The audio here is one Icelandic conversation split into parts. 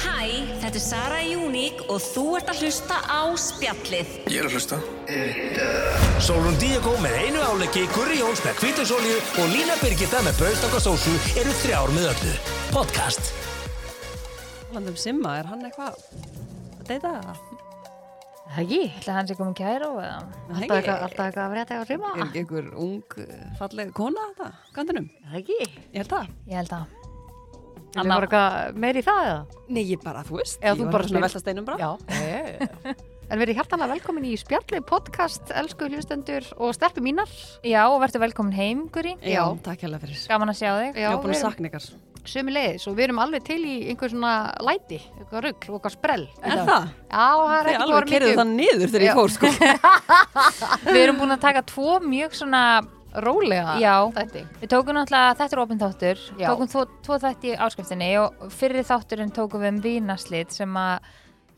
Hæ, þetta er Sara Júník og þú ert að hlusta á spjallið. Ég er að hlusta. Sólun Díakó með einu áleggi, Gurri Jóns með kvítusólju og Lína Birgitta með braustakasósu eru þrjár með öllu. Podcast. Talandum Simma, er hann eitthvað að deyta það? Það ekki, ætla hans ekki komin kæra og eða alltaf ekki. eitthvað- alltaf eitthvað að frétta á rima Er ekki einhver ung, eh, falleg kona þetta, gandinum? Það ekki Ég held það. Ég held að Það Anna- var eitthvað meiri í það eða? Nei, ég bara, þú veist. Eða ég þú var bara svona spyr- velta steinum bara. Já En verið hjartanlega velkomin í spjallið podcast, elsku hlustendur og stelpi mínar Já, og verður velkomin heim, Guri. Já, takk hérlega fyrir. Gaman að sjá þig. ég var búin við að erum sakna ykkar. sömu leiðis og við erum alveg til í einhver svona læti, eitthvað rugg og eitthvað sprell Er það? Já, það er Þið ekki alveg bara kerðu mikið það um- niður þegar ég fór, sko. Við erum búin að taka tvo mjög svona, Rólega Já. þetta við tókum náttúrulega, þetta er opinn þáttur, Já. tókum tvo, tvo þætti í áskriftinni og fyrir þátturinn tókum við um vínaslit sem að,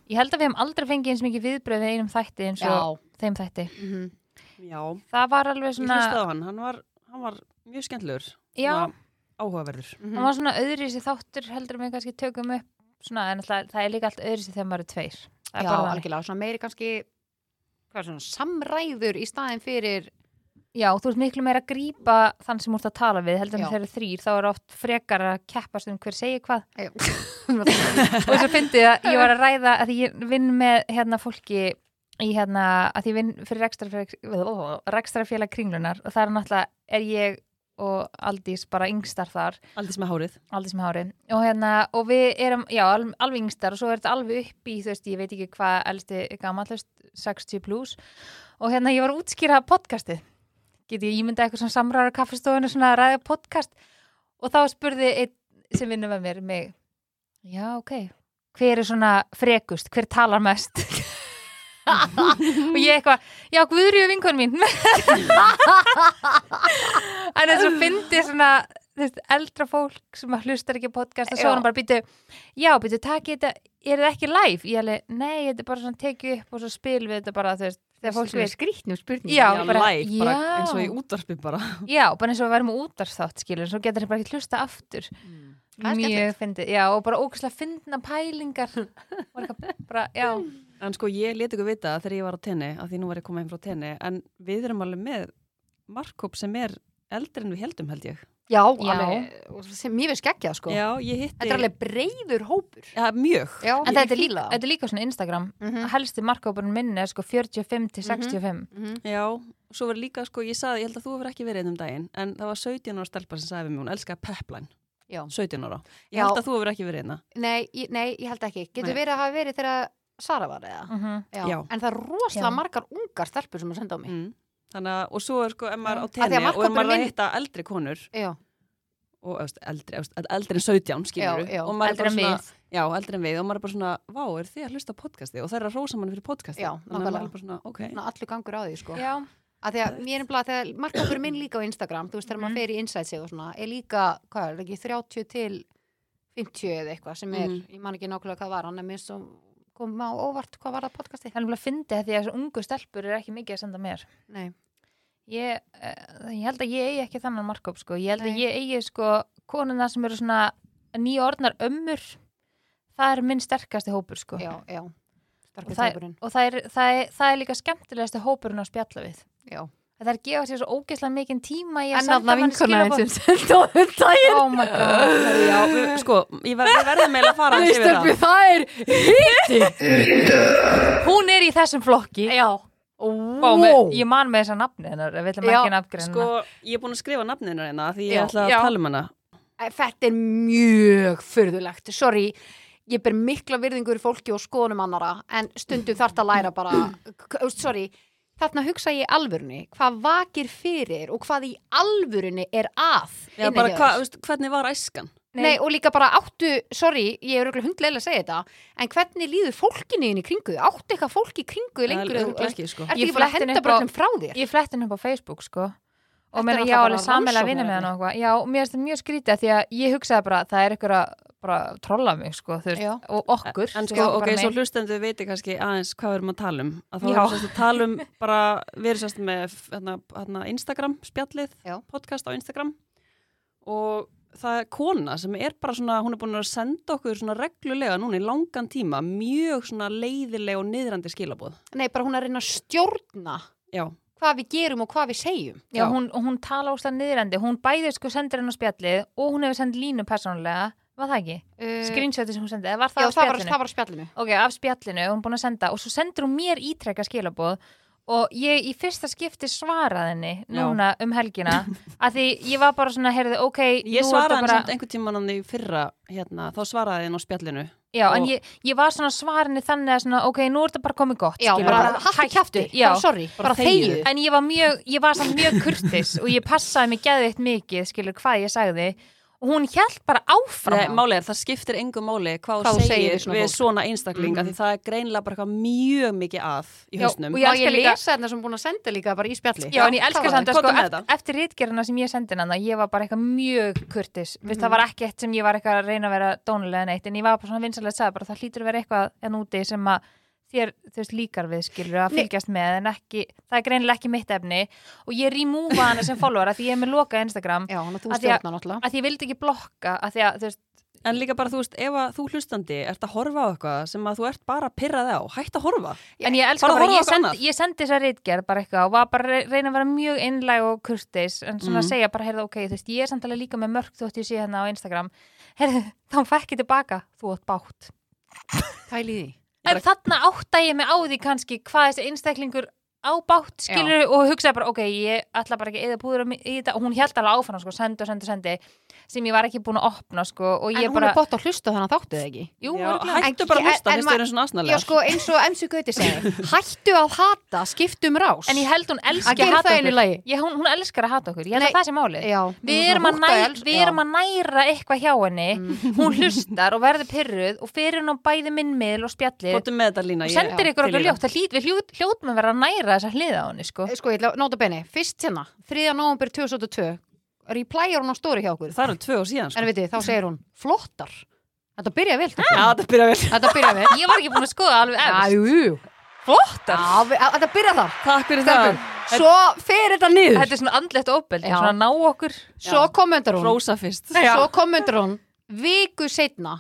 ég held að við hefum aldrei fengið eins mikið viðbröð við einum þætti eins og þeim þætti. Já, Það var alveg ég svona, hlustaði á hann. Hann var, hann var mjög skemmtlur. Já. Áhugaverður. Mhm. það var svona öðri sér þáttur heldur en við kannski tökum upp svona, en alltaf, það er líka allt öðri sér þegar maður er tveir. Það er Já, bara þannig. algjörlega, svona meiri kannski hvað er svona, samræður í staðin fyrir Já, þú ert miklu meira að grípa þann sem þú ert að tala við, heldur en Já. þeir eru þrýr, þá er oft frekar að keppast um hver segir hvað. Já. Og svo fyndið að ég var að ræða að ég vinn með hérna fólki í hérna, að ég vinn fyrir rekstrafélag, rekstrafélag kringlunar og það er náttúrulega, er ég og Aldís bara yngstar þar, Aldís með hárið. Aldís með hárið og hérna, og við erum, já, al- alveg yngstar og svo er þetta alveg upp í, þú veist, ég veit ekki hvað elsti gamallast, 60 plus og hérna, ég var að útskýra podcastið geti ég ímyndað eitthvað svona samræður á kaffestofinu svona að ræða podcast og þá spurði einn sem vinnur með mér mig, já ok hver er svona frekust, hver talar mest og ég eitthvað já Guðrýju vinkun mín en þess að fyndi svona þess, eldra fólk sem að hlustar ekki á podcast og svo Já. hann bara býtu já býtu takk þetta, er þetta ekki live ég alveg, nei þetta er bara svona tekið upp og svo spil við þetta bara þú veist þegar fólk veit skrítnum spurningum Já, Já, bara- live, bara já. eins og í útvarpi bara. Já, bara eins og við værum útarstátt skilur, svo getur þér bara ekki hlusta aftur Mm. Það er Mjög skemmtilegt. fyndið, já, og bara ógæslega fyndna pælingar Var eitthvað bara, já, En sko, ég leti ykkur vita þegar ég var á tenni, að því nú var ég koma heim frá tenni, en við erum alveg með markkóp sem er eldri en við heldum, held ég. Já, Já. alveg, og sem mjög veist geggjað sko Já, ég hitti... Þetta er alveg breyður hópur Já, mjög. Já, en þetta er, líka, þetta er líka svona Instagram Mhm. Mm. Helsti markkópurinn minni er sko 45 til 65 Mhm. Já, og svo var líka, sko, ég saði, ég held að þú hefur ekki verið einn um daginn, en það var 17 ára stelpa sem sagði við mig, hún elskaði Pepline, Já. 17 ára. Ég Já. held að þú hefur ekki verið einna. Nei, ég- nei, ég held ekki Getur Nei. verið að hafa verið þegar Sara var eða Mhm. Mm. Já. En það er rosalega Já. margar ungar stelpur sem að senda á mig Mm. Þannig að, og svo er sko, ef maður á Af því að tenni og ef markhópurinn maður er að minn- hitta eldri konur, Já, og eðst, eldri, eðst, eldri en 17, skilur Já, já. og maður er Eldri bara en svona, við. já, eldri en við, og maður er bara svona, vá, er þið að hlusta á podcasti og það er að rósa mann fyrir podcasti. Já, Þannig að maður nákvæmlega. er bara svona, ok. Ná, allur gangur á því sko Já, að því að mér er bara þegar markafur minn líka á Instagram þú veist þegar maður fer í insightsi og svona er líka, hvað er ekki, 30 til 50 eða eitthvað sem er Mhm. ég man ekki nákvæmlega hvað var, hann er mér svo kom á óvart hvað var það podcasti það er nefnilega fyndið að því að þessu ungu stelpur er ekki mikið að senda mér Nei, Ég, uh, ég held að ég eigi ekki þannan markkóp sko. Ég held Nei. að ég eigi sko konuna sem eru svona nýjordnar ömmur Það er minn sterkasti hópur sko já, já og, starkið það, þákurinn, og það, er, það, er, það er líka skemmtilegasti hópurinn að spjalla við já það er að gefa sér svo ógeðslega mikinn tíma í að En aðna senda mann vinkona skilabóð einn sem senda á þér daginn oh my god Herru, Já, við- sko, ég ver- við verðum eiginlega að fara aðeins yfir það. Stelpu, það er hún er í þessum flokki Já Ó, með, Wow ég man með þessa nafni hennar við ætlum Já, ekki nafngreina Sko, ég er búin að skrifa nafninu reyna því ég Já. ætla að Já. tala um hana. Æ, Þetta er mjög fyrðulegt, sorry ég ber mikla virðingur í fólki og skoðunum annara en stundum þarf þetta að læra bara k- sorry, þarna hugsa ég í alvörunni hvað vakir fyrir og hvað í alvörunni er að Já, innan bara, hjá hva, þér. veist, hvernig var æskan? Nei. og líka bara áttu, sorry, ég er örugglega hundlega að segja þetta, en hvernig líður fólkinu inn í kringu, þig? áttu eitthvað fólki í kringu þig lengur, Eða eða- örugglega ekki, sko. ertu Ég ekki bara fletti að henni henda upp á- bröllum frá þér? ég flett henni upp á Facebook sko Þetta og meina er ég á alltaf alveg bara samanlega vinna með hann rannsóknarefni. og eitthvað já, og mér finnst þetta mjög skrítið af því að ég hugsaði bara það er ykkur að bara trolla mig sko þú Já. veist, og okkur En Ég sko, var ok, bara, svo nei. hlustendu veitir kannski aðeins hvað við erum að tala um. Að þá Já. erum við sérst að tala um bara, við erum sérst með hérna, hérna, Instagram, spjallið, Já. podcast á Instagram og það er kona sem er bara svona, hún er búin að senda okkur svona reglulega núna í langan tíma mjög svona leiðileg og niðrandi skilabóð. Nei, bara hún er að reyna að stjórna Já, hvað við gerum og hvað við segjum. Já, Já. hún, og hún tala óslega niðurendi, hún bæði sko sendir henn á spjallið og hún hefur sendið línu persónulega, var það ekki? Uh, Screenshotið sem hún sendið, eða var það já, af það var, spjallinu? það var á spjallinu. Ok, af spjallinu, hún er búin að senda og svo sendur hún mér ítrekka skilaboð og ég í fyrsta skipti svaraði henni Já. núna um helgina að því ég var bara svona, heyrðu, ok ég nú ertu svaraði henni bara, samt einhver tíman hann í fyrra, hérna, þá svaraði henni á spjallinu. Já, en og- ég, ég var svona svarinni þannig að svona, ok, nú er þetta bara komið gott Já, skilur, bara, haltu kjæfti, já. bara sorry, bara, bara þegiðu. þegiðu. En ég var mjög, ég var samt mjög kurtis og ég passaði mig geðveitt mikið, skilur, hvað ég sagði og hún hjælt bara áfram Nei, málið er, það skiptir engu máli hvað þú Hvað þú segir segir við svona við fólk. svona einstaklinga því það er greinlega bara eitthvað mjög mikið að í Já, hausnum. og Já, ég ég elska líka- lesa þetta sem hún búin að senda líka bara í spjalli. Já, en ég elska það var samt að Komdu sko, með eft- það. eftir rítgerðina sem ég sendi hann ég var bara eitthvað mjög kurtis mm það var ekki eitt sem ég var eitthvað að reyna að vera dónulega neitt, en ég var bara svona vinsalega að sagði bara það hlýtur að vera eitthvað en úti sem að þér þú veist, líkar við skilur að Nei. fylgjast með en ekki, það er greinilega ekki mitt efni og ég remúva hana sem follower að því ég er með loka Instagram, Já, hann að þú Af því að- stjórna náttúrulega. að því ég vildi ekki blokka að því að þú veist, En líka bara, þú veist, ef að þú hlustandi ert að horfa á eitthvað sem að þú ert bara pirraði á, hætt að horfa. en ég elska Bara bara, horfa á ég, eitthvað send, annað. ég sendi þessa reitgerð bara eitthvað og var bara að re- reyna að vera mjög innlæg og kurtis en svona að Mhm. segja bara, heyrðu, ok, þú veist, ég er samtalið líka með mörg þótt ég sé hérna á Instagram heyrðu, þá fækki tilbaka, þú átt bátt Pæli í því. en þarna átta ég mig á því kannski hvað þessi einstaklingur á bátt skilur og hugsaði bara, ok, ég ætla bara ekki eða púður um í þetta og hún held alveg áfram sko, sendi og sendi og sendi sem ég var ekki búin að opna sko, og ég En hún bara, er bótt að hlusta þannig að þáttu það ekki. jú, Já, örugglega. hættu En- bara að en- hlusta, en finnst þau ma- eru svona Já, asnalega. sko, eins og MC Gauti segi, hættu að hata, skiptum rás. en ég held hún Að elski að gera hata það einu okkur lagi. ég, hún, hún elskar að hata okkur, ég held Nei. að það sé málið Já. Við erum, að næ, við erum að næra eitthvað hjá henni Mm. Hún hlustar og verður pyrruð og fyrir hún á bæði minn miðl og spjallir Kvotum með þetta lína. og ég- sendir Já, ykkur til í okkur það. ljótt Það hlýt, við hljótt, hljótum að vera að næra þessa hliða á henni sko. Sko, ég ætla að nota benni, fyrst hérna, 3. november 2002, replyar hún á stóri hjá okkur. Það eru tvö og síðan, sko. En veitir, þá segir hún, flottar. Þetta byrja vel, Já, þetta þetta byrja vel. byrja vel. Ég var ekki búin að skoða alveg efst Æjú, Flottar Já, við- að- þetta byrja þar. Takk fyrir Stelpur, það. Svo fer þetta niður. Þetta er svona andlegt óbeld Já. Svona að ná okkur Svo kommentar hún. Rósa fyrst. Svo kommentar hún viku setna.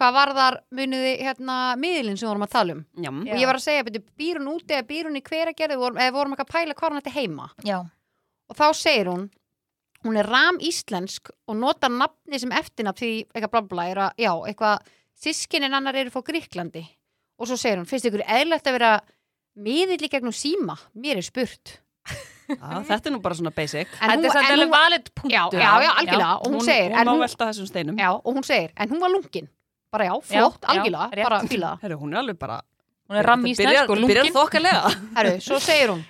Hvað var þar muniði hérna miðlinn sem við vorum að tala um? Já. Já. Og ég var að segja, byrju, býr hún úti eða býr hún í hveragerði Við vorum- eða vorum ekki að pæla hvað hún ætti heima. Já, Og þá segir hún, hún er ram íslensk og notar nafni sem eftirnafn því eitthvað blabla, er að, já, eitthvað sískinin annar eru frá Gríklandi. Og svo segir hún, finnst ykkur eðlægt að vera miðill í gegnum síma? Mér er spurt. Já, Þetta er nú bara svona basic. En þetta er samt alveg valid já, punktur já, já, algjörlega. Og hún, segir, hún en má hún, velta þessum steinum. já, og hún segir, en hún var lungin. Bara já, Já, flott, já, algjörlega, rétt. bara fíla það. Herru, hún er alveg bara... Hún er ramm í snæð sko, Byrjar lungin þokkalega. Herru, svo segir hún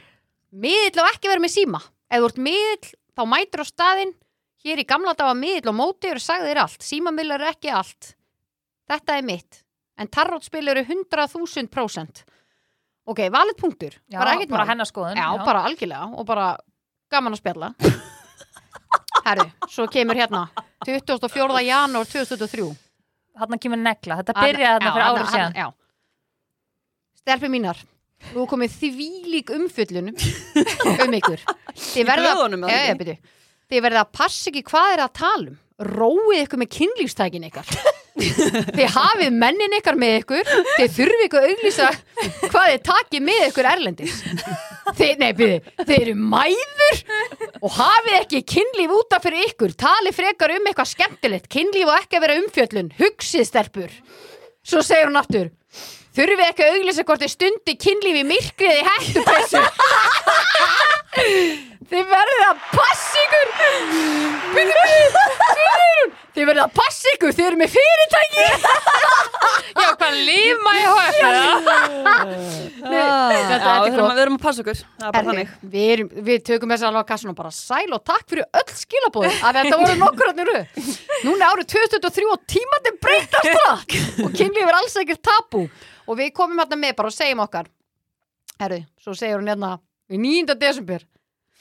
Miðill á ekki verið með síma Ef þú ert miðill, þá mætur á staðinn Hér í gamla daga miðill og móti eru sagðir allt Símamillar eru ekki allt Þetta er mitt En tarrótspil eru 100.000% Ok, valið punktur Já, Bara ekkert bara mál. hennar skoðun Já, bara algjörlega og bara gaman að spjalla Herru, svo kemur hérna 24. janúar 2003 Þarna kemur negla, þetta byrjaði þarna Já, fyrir árið hann- síðan hann- já. Stelpur mínar Nú er komið þvílík umfjöllun um ykkur Þið verða blöðunum, eða Já, já, ekki? byrju. Þið verða að passa ekki hvað er að tala um Róið ykkur með kynlífstækin ykkar Þið hafið mennin ykkar með ykkur Þið þurfið ykkur að auglýsa hvað þið takið með ykkur erlendis Þið, nei, byrju, þið eru mæður og hafið ekki kynlíf útaf fyrir ykkur Talið frekar um eitthvað skemmtilegt Kynlíf og ekki að vera umfjöllun Hugsið stelpur Svo segir hún aftur Þurfum við ekki að auglýsa hvort þið stundi kynlífi myrkrið í hættupressu Þið verður að passa ykkur Byrðu mig Guðrún Þið verður að passa ykkur, þið eru með fyrirtæki Já, hvað líma ég hóða Já, þetta er við ekki þurfum gott. að- við erum að passa okkur. Það er bara Herri, þannig. við, erum, við tökum þess að alveg að kassan og bara sæl og takk fyrir öll skilabóðin að þetta voru nokkur hann eru núna er árið 2023 og tímandi breytast það og kynlíf er alls ekkert tabú og við komum hérna með bara og segjum okkar herru, svo segir hún hérna í 9. desember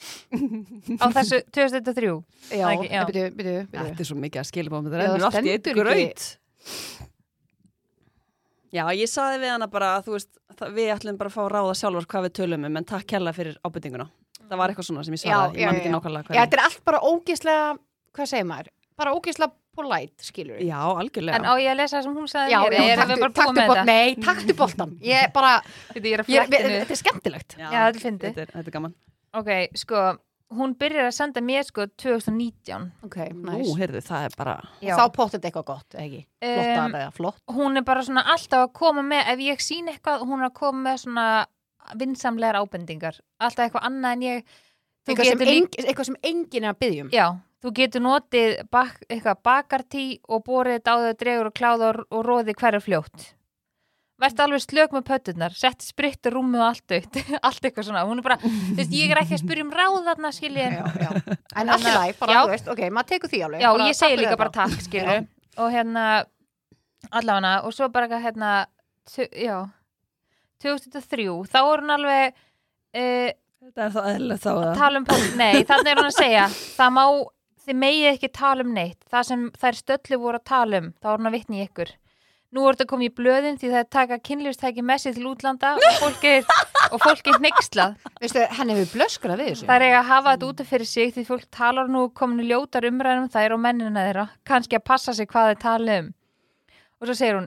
Á þessu 2003 já, Ekki, já. byrju, byrju, byrju. Þetta er svo mikið að skilja bóðum, þetta Já, það rennur allt í eitt stendur ekki. gröyt. Já, ég saði við hana bara að þú veist, það, við ætlum bara að fá að ráða sjálfur hvað við tölum um, en takk kærlega fyrir ábyrtinguna. Það var eitthvað svona sem ég Já, svaraði, já, ég man ekki já. nákvæmlega já, hvað. þetta er allt bara ógeðslega hvað segir maður bara ógeðslega polite, skilur við. Já, algjörlega. En á ég að lesa það sem hún sagði Já, mér, já, erum við bara búin taktu, taktu með boltan, þetta? nei, taktu boltan Ég er bara, Þetta er að ég, er- flækja niður. þetta er skemmtilegt Já, þetta er fyndið. Þetta er, þetta er gaman. Ok, sko, hún byrjar að senda mér sko 2019. Ok, Nú, næs heyrðu, það er bara... Já. Þá pottet eitthvað gott, eða ekki? Flottar Em, eða flott Hún er bara svona alltaf að koma með, ef ég sín eitthvað, hún er að koma með svona vinsamlegar ábendingar. Alltaf eitthvað annað en ég, þú eitthvað sem, getur líka, engin, eitthvað sem enginn er að byggja um já, þú getur notið bak, eitthvað bakartí og borið dáðið dregur og kláður og róði hverju fljótt. Vertu alveg slök með pötturnar, sett spritt og rúmi og allt aukt, allt eitthvað svona. Hún er bara, þú veist, ég er ekki að spyrja um ráðarna, skiljið. já, já. En allt í læg, bara Já. þú veist, ok, maður tekur því alveg Já, bara, ég segi takk fyrir líka bara þetta. takk, skilur og hérna, allafana og svo bara eitthvað, hérna tu, já, 2003 þá er hún alveg uh, Þetta er þá eðlilegt þá að... tala um, pol- nei, þannig er hún að segja það má, þið megið ekki tala um neitt það sem þær stöllu voru að tala um þá er hún að vitna í ykkur Nú voru þetta komið í blöðin því það er taka kynlífstæki með sér til útlanda og fólk er, og fólk er neykslað. Veistu, henni hefur blöskrað við þessu Það er eiga að hafa þetta úti fyrir sig því fólk talar nú kominu ljótar umræðum þær og mennina þeirra, kannski að passa sig hvað þeir tala um. Og svo segir hún,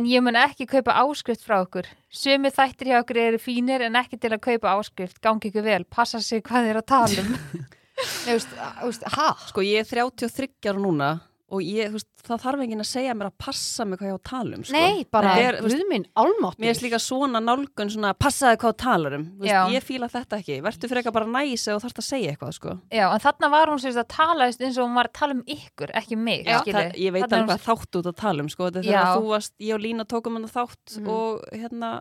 en ég mun ekki kaupa áskrift frá okkur. Sumi þættir hjá okkur eru fínir en ekki til að kaupa áskrift, gangi ykkur vel, passa sig hvað þeir eru að tala um. Nei, veist, að- þú veist, ha? Sko, ég er 33 ára núna og ég, þú veist, það þarf enginn að segja mér að passa mig hvað ég á að tala um, sko. Nei, bara, Þetta er, þú veist, Guð minn, álmátt Mér er líka svona nálgun svona, passaði hvað þú talar um. Þú Já. Veist, ég fíla þetta ekki. Vertu fyrir eitthvað bara næs eða þú þarfst að segja eitthvað, sko. Já, en þarna var hún sérst að tala eins og hún var að tala um ykkur, ekki mig. skilurðu. það, ég veit Þarna er alveg hún- hvað þátt þú ert að tala um, sko. Þetta er Já. þegar þú varst, ég og Lína tókum hann þátt Mhm. og hérna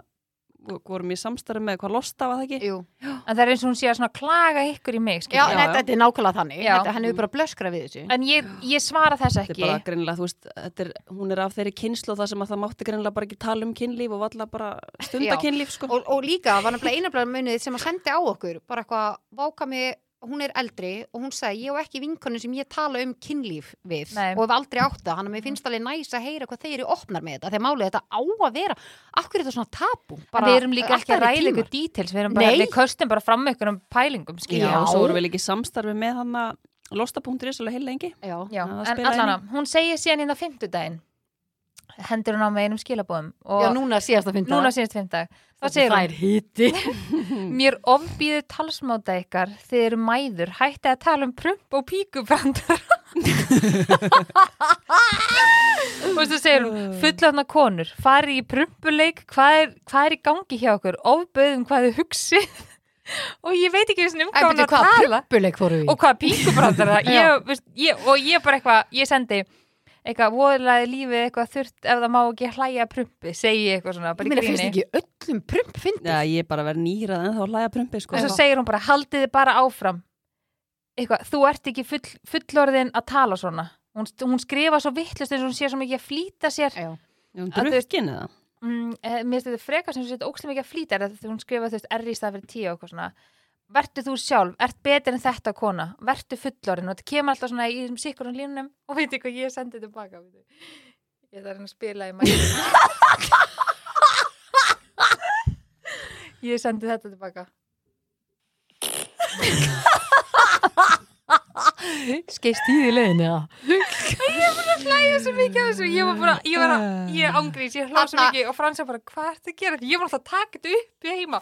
og vorum í samstarfi með hvað losta var það ekki? Jú. En það er eins og hún sé að svona klaga ykkur í mig, Já, skilja. Já, nei, já. þetta er nákvæmlega þannig Já. Þetta- Henni hefur bara blöskrað við þessu En ég, ég svara þess Þetta ekki. er bara greinilega, þú veist, þetta er, hún er af þeirri kynslu og það sem að það mátti greinilega bara ekki tala um kynlíf og valla bara stunda Já. kynlíf, sko. og, og líka var nefnilega einablaður munið sem að sendi á okkur bara eitthvað, váka mig hún er eldri og hún sagði ég á ekki vinkonu sem ég tala um kynlíf við Nei. Mhm. og hef aldrei átt það, hann að mér finnst alveg næs að heyra hvað þeir eru opnar með þetta, þegar málið þetta á að vera akkur er þetta svona tabu Bara, við erum líka ekki að allt ræða aðrir tímar. ykkur details, við erum bara, Nei. við köstum bara fram ykkur um pælingum, Já, skilja. og svo vorum við líka í samstarfi með hann að losta.is alveg heil lengi. Já. Já, Það en spilaði allan að, hún segir síðan hérna fimmtudaginn, hendur hún á með einum skilabóðum og Já, núna síðast að finna núna síðast fimmtag, þá segir hún, hýtti Mm. mér ofbýðu talsmáta ykkar, þið eru mæður, hætti að tala um prump og píkubrandar. og svo segir hún, fullatna konur, fari í prumpuleik, hvað er, hvað er í gangi hjá okkur, ofböðum hvað þið hugsið og ég veit ekki vissin um hvað hún er að hvað tala. prumpuleik fóru við og hvað píkubrandar það Já. ég, veist, ég, og ég bara eitthvað, ég sendi eitthvað voðlaði lífið eitthvað þurft ef það má ekki hlæja prumpi segi ég eitthvað svona, ég bara í meina finnst gríni ekki öllum prump fyndið Já, ég er bara að vera nýrað en þá hlæja prumpi, sko. og svo segir hún bara, haldið þið bara áfram eitthvað, þú ert ekki full, fullorðin að tala svona hún, hún skrifa svo vittlust eins og hún sé svo mikið að flýta sér Já. Er hún að þú veist- drukkin eða? mm, eh, mér finnst þetta frekar sem hún sé þetta ókslega mikið að flýta er að hún skrifa þú veist R í stað fyrir 10 og eitthvað svona Vertu þú sjálf, ert betur en þetta kona, vertu fullorinn og þetta kemur alltaf svona í þessum sikkurum línunum og veit ekki hvað ég sendi tilbaka. veitu. Ég þarf að reyna að spila í mæli. ég sendi þetta tilbaka. skeist í því leiðin eða Hlæja svo mikið af þessu, ég var bara, ég var að, ég ángrís, ég hlá svo Þarna- mikið og Frans er bara, hvað ertu að gera þetta? Ég var alltaf að taka þetta upp í heima,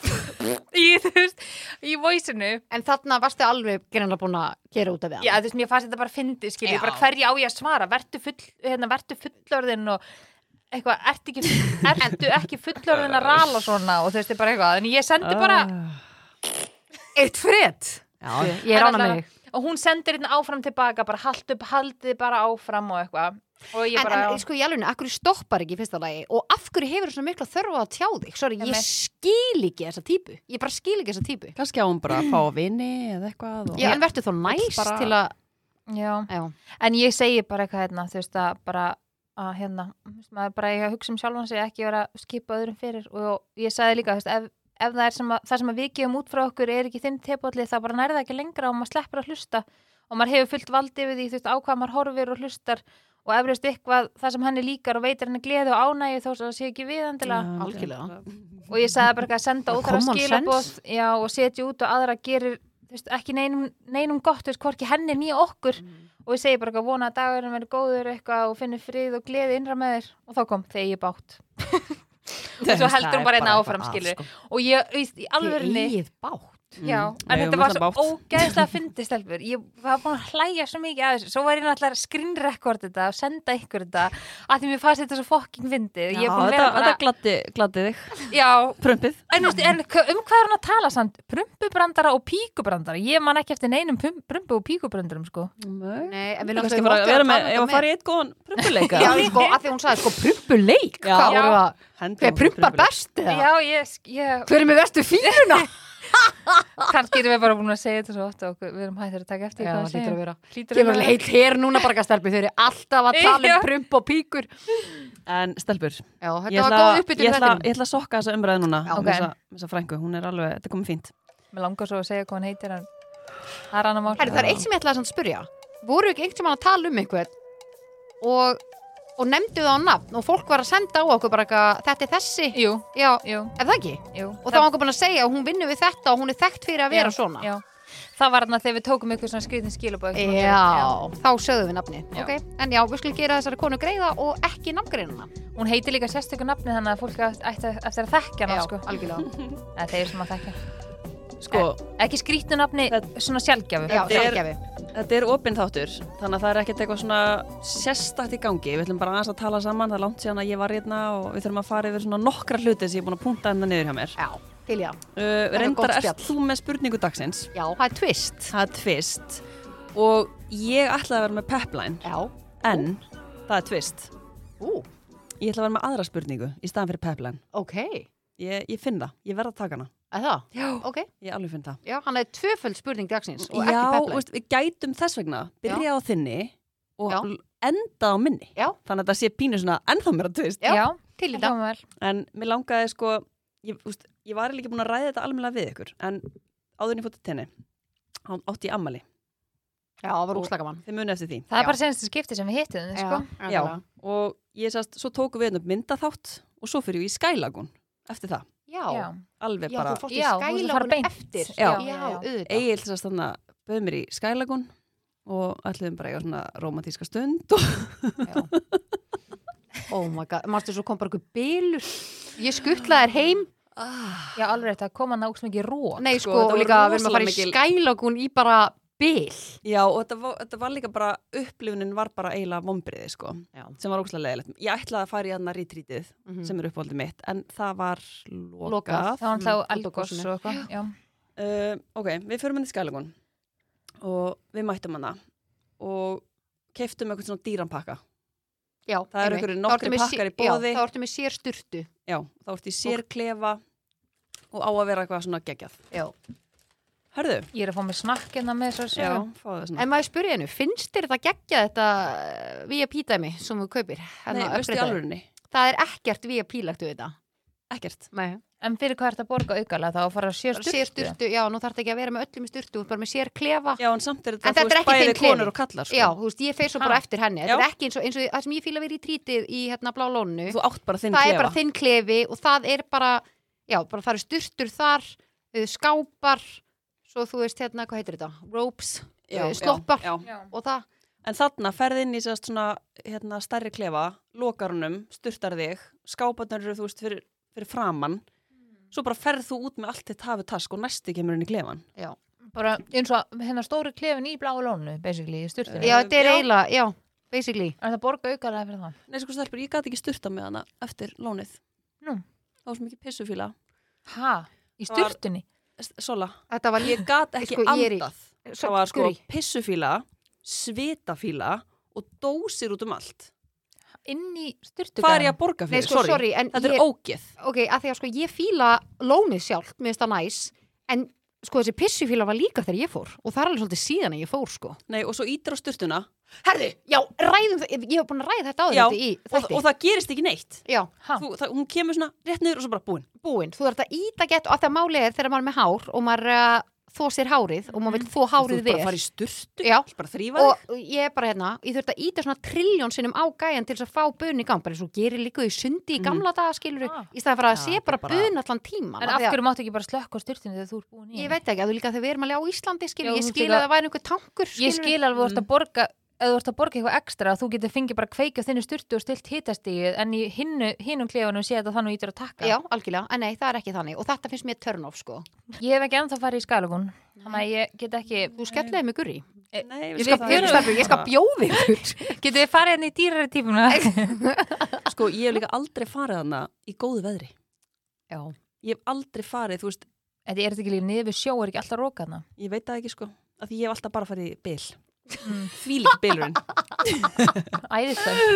í, þú veist, í voisinu. en þarna varstu alveg greinlega búin að gera út af það Já, þú veist, mér fannst þetta bara fyndið, skilju, Já. bara hverju á ég að svara, vertu, full, hérna, vertu fullorðin og eitthvað, ertu ekki, ertu ekki fullorðin að rala svona og þú veist, þetta er bara eitthvað, en ég sendi bara, Ah. eitt frétt Já, Ah, ég er ána með þig og hún sendir hérna áfram tilbaka, bara hald upp, haldið bara áfram og eitthvað, og ég En, bara, en sko í alveg, akkur stoppar ekki í fyrsta lagi og af hverju hefur svona mikla þörfa að tjá þig Sorry, ég Einmitt. skil ekki þessa típu Ég bara skil ekki þessa típu kannski á hún bara að fá að vinni eða eitthvað. Og... Já, En verður þá næs bara- til að já, já. en ég segi bara eitthvað hérna, þú veist, að bara, að hérna, þú veist, maður bara eiga að hugsa um sjálfan sig, ekki vera að skipa öðrum fyrir og ég sagði líka, þú veist, ef, ef það er sem að, það sem að við gefum út frá okkur er ekki þinn tepalli þá bara nærða ekki lengra og maður sleppur að hlusta og maður hefur fullt valdi við því, þú veist, á hvað maður horfir og hlustar og eflaust eitthvað það sem henni líkar og veitir henni gleði og ánægi þó sem það sé ekki viðandilega algjörlega. Mm, og ég sagði bara eitthvað að senda Bara óþara common skilabóð já, og setja út og aðra gerir þú veist, ekki neinum, neinum gott, þú veist, hvorki henni nýja okkur og ég segi bara eitthvað, vona að dagurinn verður góður eitthvað og finnir frið og gleði innra með þér og þá kom þegi bátt og svo heldur hún bara einna áfram skilur og ég, þú veist, í alvörinni Þið eigið bátt já, en þetta var svo ógeðslega fyndið stelpur, ég var búin að hlæja svo mikið að þessu, svo var ég náttúrulega skrinrekord þetta og senda ykkur þetta að því mér fannst þetta svo fokking fyndið Ég er búin að vera Þetta bara- gladdi, gladdi þig, já, prömpið En, veistu, en hva- um hvað er hún að tala samt? Prumpubrandara og píkubrandara Ég man ekki eftir neinum pum- prumpu og píkubrandurum sko. Nei, Nei, en við við náttúrulega bara að vera með, ef að fara í eitt góðan prumpuleika um Já, sko, að því hún sagði, sko, prumpuleik Já. Hvað voru það? Hendum Hver okkur prumpar prumpuleik. best eða? Já, ég, ég Hver er með verstu fýruna? kannski erum við bara búin að segja þetta svo oft og við erum hættir að taka eftir Já, hvað það hlýtur að vera Hlýtur Ég að var vera. alveg heilt hér núna bara að stelpi Þau eru alltaf að tala Já. um prump og píkur Já, En stelpur, ég þetta var ætla, góð ég, uppbytun ætla, þetta ég ætla að sokka þessa umræði núna Já. Ok. okay. með þessa frængu, hún er alveg, þetta er komið fínt Mér langar svo að segja hvað hann heitir en það er annar mál Herri, það er eitt sem ég ætlaði samt að spyrja Voru ekki einhvern tímann að tala um einhvern og, og nefndu það á nafn og fólk var að senda á okkur bara eitthvað Þetta er þessi Jú, Já, jú, ef það ekki jú Og þá var okkur búin að segja að hún vinnur við þetta og hún er þekkt fyrir að vera já, svona já. Það var þarna þegar við tókum ykkur svona skritin skilabóð Já, þá sögðum við nafni Já. ok, En já, við skulum gera þessari konu greiða og ekki nafngreinuna Hún heitir líka sérstöku nafni þannig að fólk ætti eftir að þekkja hana sko. algjörlega Eða þeir sem að þekkja Sko, Ekki skrítnu nafni, svona sjálfgjafu Já, Þetta er- sjálfgefi þetta er opinn þáttur þannig að það er ekkert eitthvað svona sérstakt í gangi, við ætlum bara aðeins að tala saman það er langt síðan að ég var hérna og við þurfum að fara yfir svona nokkra hluti sem ég er búin að punta hérna niður hjá mér uh, Já, til já er gott Reyndar, spjall. ert þú með spurningu dagsins? Já, það er twist Það er tvist og ég ætlaði að vera með pepline Já, en það er tvist ú, Ég ætla að vera með aðra spurningu í staðan fyrir pepline ok Er Ég, ég finn það, ég verð að taka hana það? Já. Ok, Ég alveg finn það já, hann er tvöföld spurning dagsins og Já, ekki peplæn veist, við gætum þess vegna Byrja á þinni og Já. l- enda á minni Já. Þannig að það sé pínu svona ennþá mér að tvist Já, Já, til í það dag hljóma vel En mér langaði sko Ég, veist, ég var eiginlega ekki búin að ræða þetta almennilega við ykkur En áðurinn ég fótt að tenni Hann átti ég ammali, Já, það var úslagamann þið muni eftir því Það Já. er bara senstu skipti sem við hittum þið, sko. Já, og ég sast, svo tóku við einn upp myndaþátt Og svo fyrir ég í Skylagun Eftir það, Já, Já. já, alveg já bara þú fórst í Já, þú fórst að fara skælagun beint. eftir Já. já, Já, já. auðvitað Egil þess að stanna bauð mér í Skylagun og ætluðum bara að eiga svona romantíska stund og Oh my god, mannstu svo kom bara einhver bylur Ég skuttlaði þér heim Ah. Já, alveg þetta kom hann áks mikið rók. Nei, Sko, sko, þetta og var líka við erum að fara í rosalega mikil- skælagun í bara byl já og þetta var, þetta var líka bara upplifunin var bara eiginlega vombriði sko Já. sem var ógustlega leiðilegt. Ég ætlaði að fara í hann að rítrítið Mhm. sem er uppáldið mitt en það var lokað. Lokað. Það var hann þá Mm, elgós eldgosinu. og eitthvað. Já. Uh, ok, við förum hann í Skylagun og við mættum hann og keftum eitthvað svona dýranpakka. Já, Það eru einmitt. einhverjir Þá nokkrir ertu með pakkar í sé- já, boði. þá ertu með sér styrtu Já, þá ertu í sérklefa og á að vera eitthvað svona geggjað. Já. Hörðu? Ég er að fá mér snakk hérna með þessar Já, sögum. fáðu það svona. En maður spurði hennu, finnst þér þetta geggja þetta eh, VIP dæmi sem þú kaupir? Nei, Hérna, veistu í upgradeaði? alvörinni? Það er ekkert VIP lagt við þetta Ekkert. Nei, En fyrir hvað ert að borga aukala þá að fara að sér styrtu? sér styrtu, já, nú þarf þetta ekki að vera með öllum í styrtu, þú ert bara með sér klefa Já, en samt er þetta, En þetta þú veist, er ekki bæði þinn klefi. konur og kallar, sko. Já, þú veist, ég feir svo bara Ha. eftir henni Já. Þetta er ekki eins og, eins og það sem ég fíla að vera í trítið í hérna blá lónu Þú átt bara þinn Það klefa. er bara þinn klefi og það er bara, já, bara það eru styrtur þar, eh, skápar, svo þú veist hérna, hvað heitir þetta? Ropes eh, sloppar. Já, já. Já. og það En þarna ferði inn í sérst svona, hérna, stærri klefa, lokar honum, sturtar þig, skáparnar eru, þú veist, fyrir, fyrir framann. Mm. Svo bara ferð þú út með allt þitt hafu task og næsti kemur inn í klefan. Já, Bara eins og hennar stóri klefin í bláa lónu, basically, í styrtunni. já þetta er Eh, já. eiginlega, já, basically Er það að borga aukala fyrir það? Nei, sko, stelpur, ég gati ekki sturta með hana eftir lónið. Nú. Það var svo mikið pissufíla. Ha? Í Það var- styrtunni? S- Sola, Þetta var ég gat ekki Sko, ég er í- andað. Svo- Það var sko skuri. pissufíla, svitafíla og dósir út um allt. Inn í styrtu? Hvað er ég að borga um Nei, fyrir? sko, sorry, en Þetta ég- er ógeð. ok, að því að sko ég fíla lónið sjálft, mér finnst það næs en sko þessi pissufíla var líka þegar ég fór og það er alveg svolítið síðan að ég fór sko Nei, og svo ítir á styrtuna herðu, já, ræðum það, ég hef búin að ræða þetta áður Já, þetta í og, þætti og það gerist ekki neitt. já, Ha? Þú, það, hún kemur svona rétt niður og svo bara búin. búinn, þú þarf að íta gett og að það máli er þegar maður er með hár og maður uh, þó sér hárið og maður vil þó Mhm. Þú hárið ert bara að vel fara í sturtu, Já. bara þrýfa þig. og ég er bara hérna, ég þurfti að íta svona trilljón sinnum á gæjan til þess að fá bun í gang bara eins og gerir líka í sundi í gamla daga skilur Ah. í staðan fyrir Mhm. að Já, sé þetta bara er bara- bun allan tíman En af af því að- hverju máttu ekki bara slökka á styrtinu þegar þú ert búin í ég henni? veit ekki, að þú líka þegar við erum alveg á Íslandi skilur, Já, ég þú skil líka- að það væri einhver tankur skilur, Ég skil alveg að þú ert að borga ef þú ert að borga eitthvað ekstra að þú getur fengið bara kveikja þinni sturtu og stilt hitastíð en í hinnu, hinnum klefanum sé þetta þannig ítur að takka já, algjörlega, en nei, það er ekki þannig og þetta finnst mér turn off sko, Ég hef ekki ennþá farið í skalagun þannig að ég get ekki þú skelliði mig gurri Nei, ég við skal, það ég, er- ég, ég skal bjóði Getið þið farið henni í dýrari típuna Sko, ég hef líka aldrei farið hana í góðu veðri. já, Ég hef aldrei farið, þú veist, Þetta er þetta ekki líka niður við sjó er ekki alltaf róka hana ég veit það ekki sko, af því ég hef alltaf bara farið í bil. Mm. Því líka bilurinn. Æðislega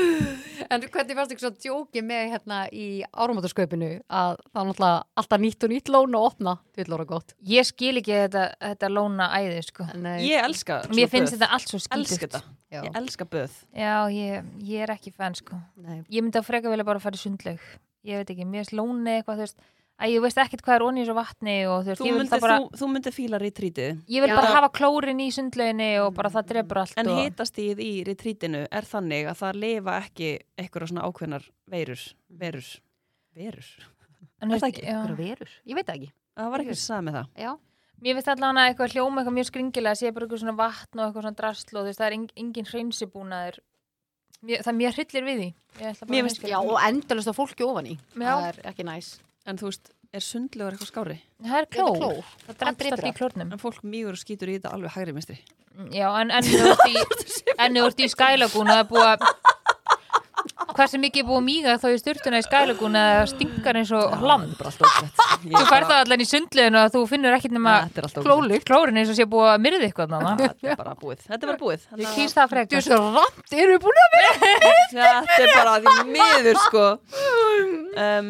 En hvernig fannst ykkur svo djóki með hérna í áramótasköpinu að það er náttúrulega alltaf nýtt og nýtt lón að opna, þú vil lóra gott. Ég skil ekki þetta, þetta lóna æði sko. Nei, Ég elska svona Mér finnst böð. þetta allt svo skildugt Elska þetta. já, Ég elska böð. Já, ég, ég er ekki fenn sko. nei. Ég myndi að freka vilja bara fara í sundlaug Ég veit ekki, mér er lóni eitthvað þú veist, að ég veist ekkert hvað er onni í svo vatni og, þú veist, Þú ég vil myndir, það bara, þú, þú myndir fíla retrítið. ég vil Já. bara hafa klórin í sundlauginni og bara það drefur allt En og, hitastíð í retrítinu er þannig að það lifa ekki einhverja svona ákveðnar veirur. Verur. Verur. en, er það veist, ekki já. Hver verur? Ég veit það ekki. Það var eitthvað sem sagði með það. Já, Mér veist allavega eitthvað hljóma eitthvað mjög skringilega sé bara eitthvað svona vatn og eitthvað svona drasl og þú veist, það er eng- engin hreinsibúnaður mér, það mér hryllir við því Ég ætla bara Mér að finnst- hreinskilja. já og endalust á fólki ofan í. Já. Það er ekki næs. En þú veist, er sundlegar eitthvað skári? Það er kló, Þetta er klór. það Hann drefst drepur allt í allt. klórnum En fólk mýgur og skýtur í þetta alveg hægri minnstri. Já, en enn þú ert í enn þú ert í skælagúna það er búið að hversu mikið er búið að míga þá í styrtuna í skælagúna það stingar eins og hlam bara allt ógætt. Þú færð það allan í sundleginu að þú finnur ekkit nema Þetta er allt ógætt. klólykt, klórin eins og sé búið að myrði eitthvað þarna. Þetta er bara búið. Þetta er bara búið. Ég Þannig að- kýs það frekar Þú veist það ramt, eru við búin að vera? Þetta er bara því miður, sko. Um,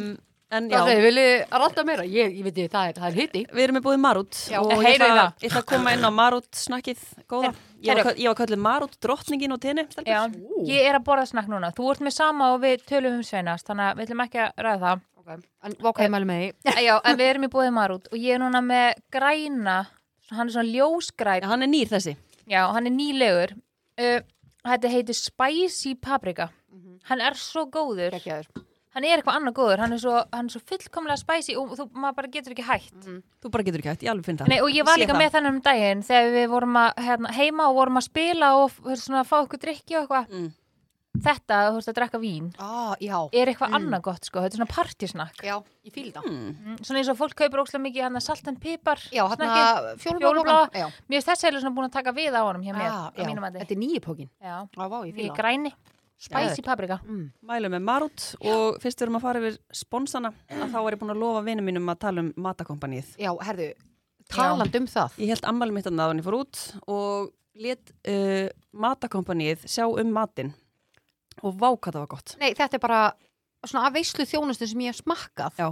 en já, Það er, viljið að ranta meira? Ég, ég veit ég, það er, það er hitti. við erum með búið Marút. Já, og ég heyrið ætla, það. ég ætla að koma inn á Marút-snakkið, góða. Ég var, heyrðu. köll- ég var kallið Marút, drottningin og tenni, stelpur. Já, Ú. ég er að borða snakk núna. Þú ert með sama og við tölum um sveinast, þannig að við ætlum ekki að ræða það. Okay. En vaka ég mælu með því. Eh, Já, en við erum í búið marút og ég er núna með græna, svona- hann er svona Já, ljósgræn, Hann er nýr þessi. já, hann er nýlegur. Uh, þetta heitir Spicy Paprika. Mhm. Hann er svo góður. Gekkjaður. Hann er eitthvað annað góður. Hann er svo, hann er svo fullkomlega spicy og þú, maður bara getur ekki hægt. Mhm. Þú bara getur ekki hægt, ég alveg finn það. Nei, og ég var sé líka það. með þannig um daginn þegar við vorum að, hérna, heima og vorum að spila og f- svona, fá okkur drikki og eitthvað. Mm. Þetta, þú veist, að drekka vín Ah, já. er eitthvað annað gott sko, þetta er svona partysnakk Já, ég fýl það. Mm, svona eins og fólk kaupir ókslega mikið hann að salt en pipar Já, hérna fjólubláa. fjólubláa. mér finnst þessi eða svona búin að taka við á honum hjá mér Ah, á já, mínum að þetta er nýju pókin. þið Á, vá, ég í fýla. Hmm. græni, spicy paprika Mælum með Marút og fyrst við erum að fara yfir sponsana að þá er ég búin að lofa vinum mínum að tala um matakompanið. Já, herðu, taland um það. Ég held ammæli mitt að náðan ég fór út og let uh, matakompanið sjá um matinn og vá hvað það var gott. Nei, þetta er bara svona af veislu þjónustu sem ég hef smakkað. Já.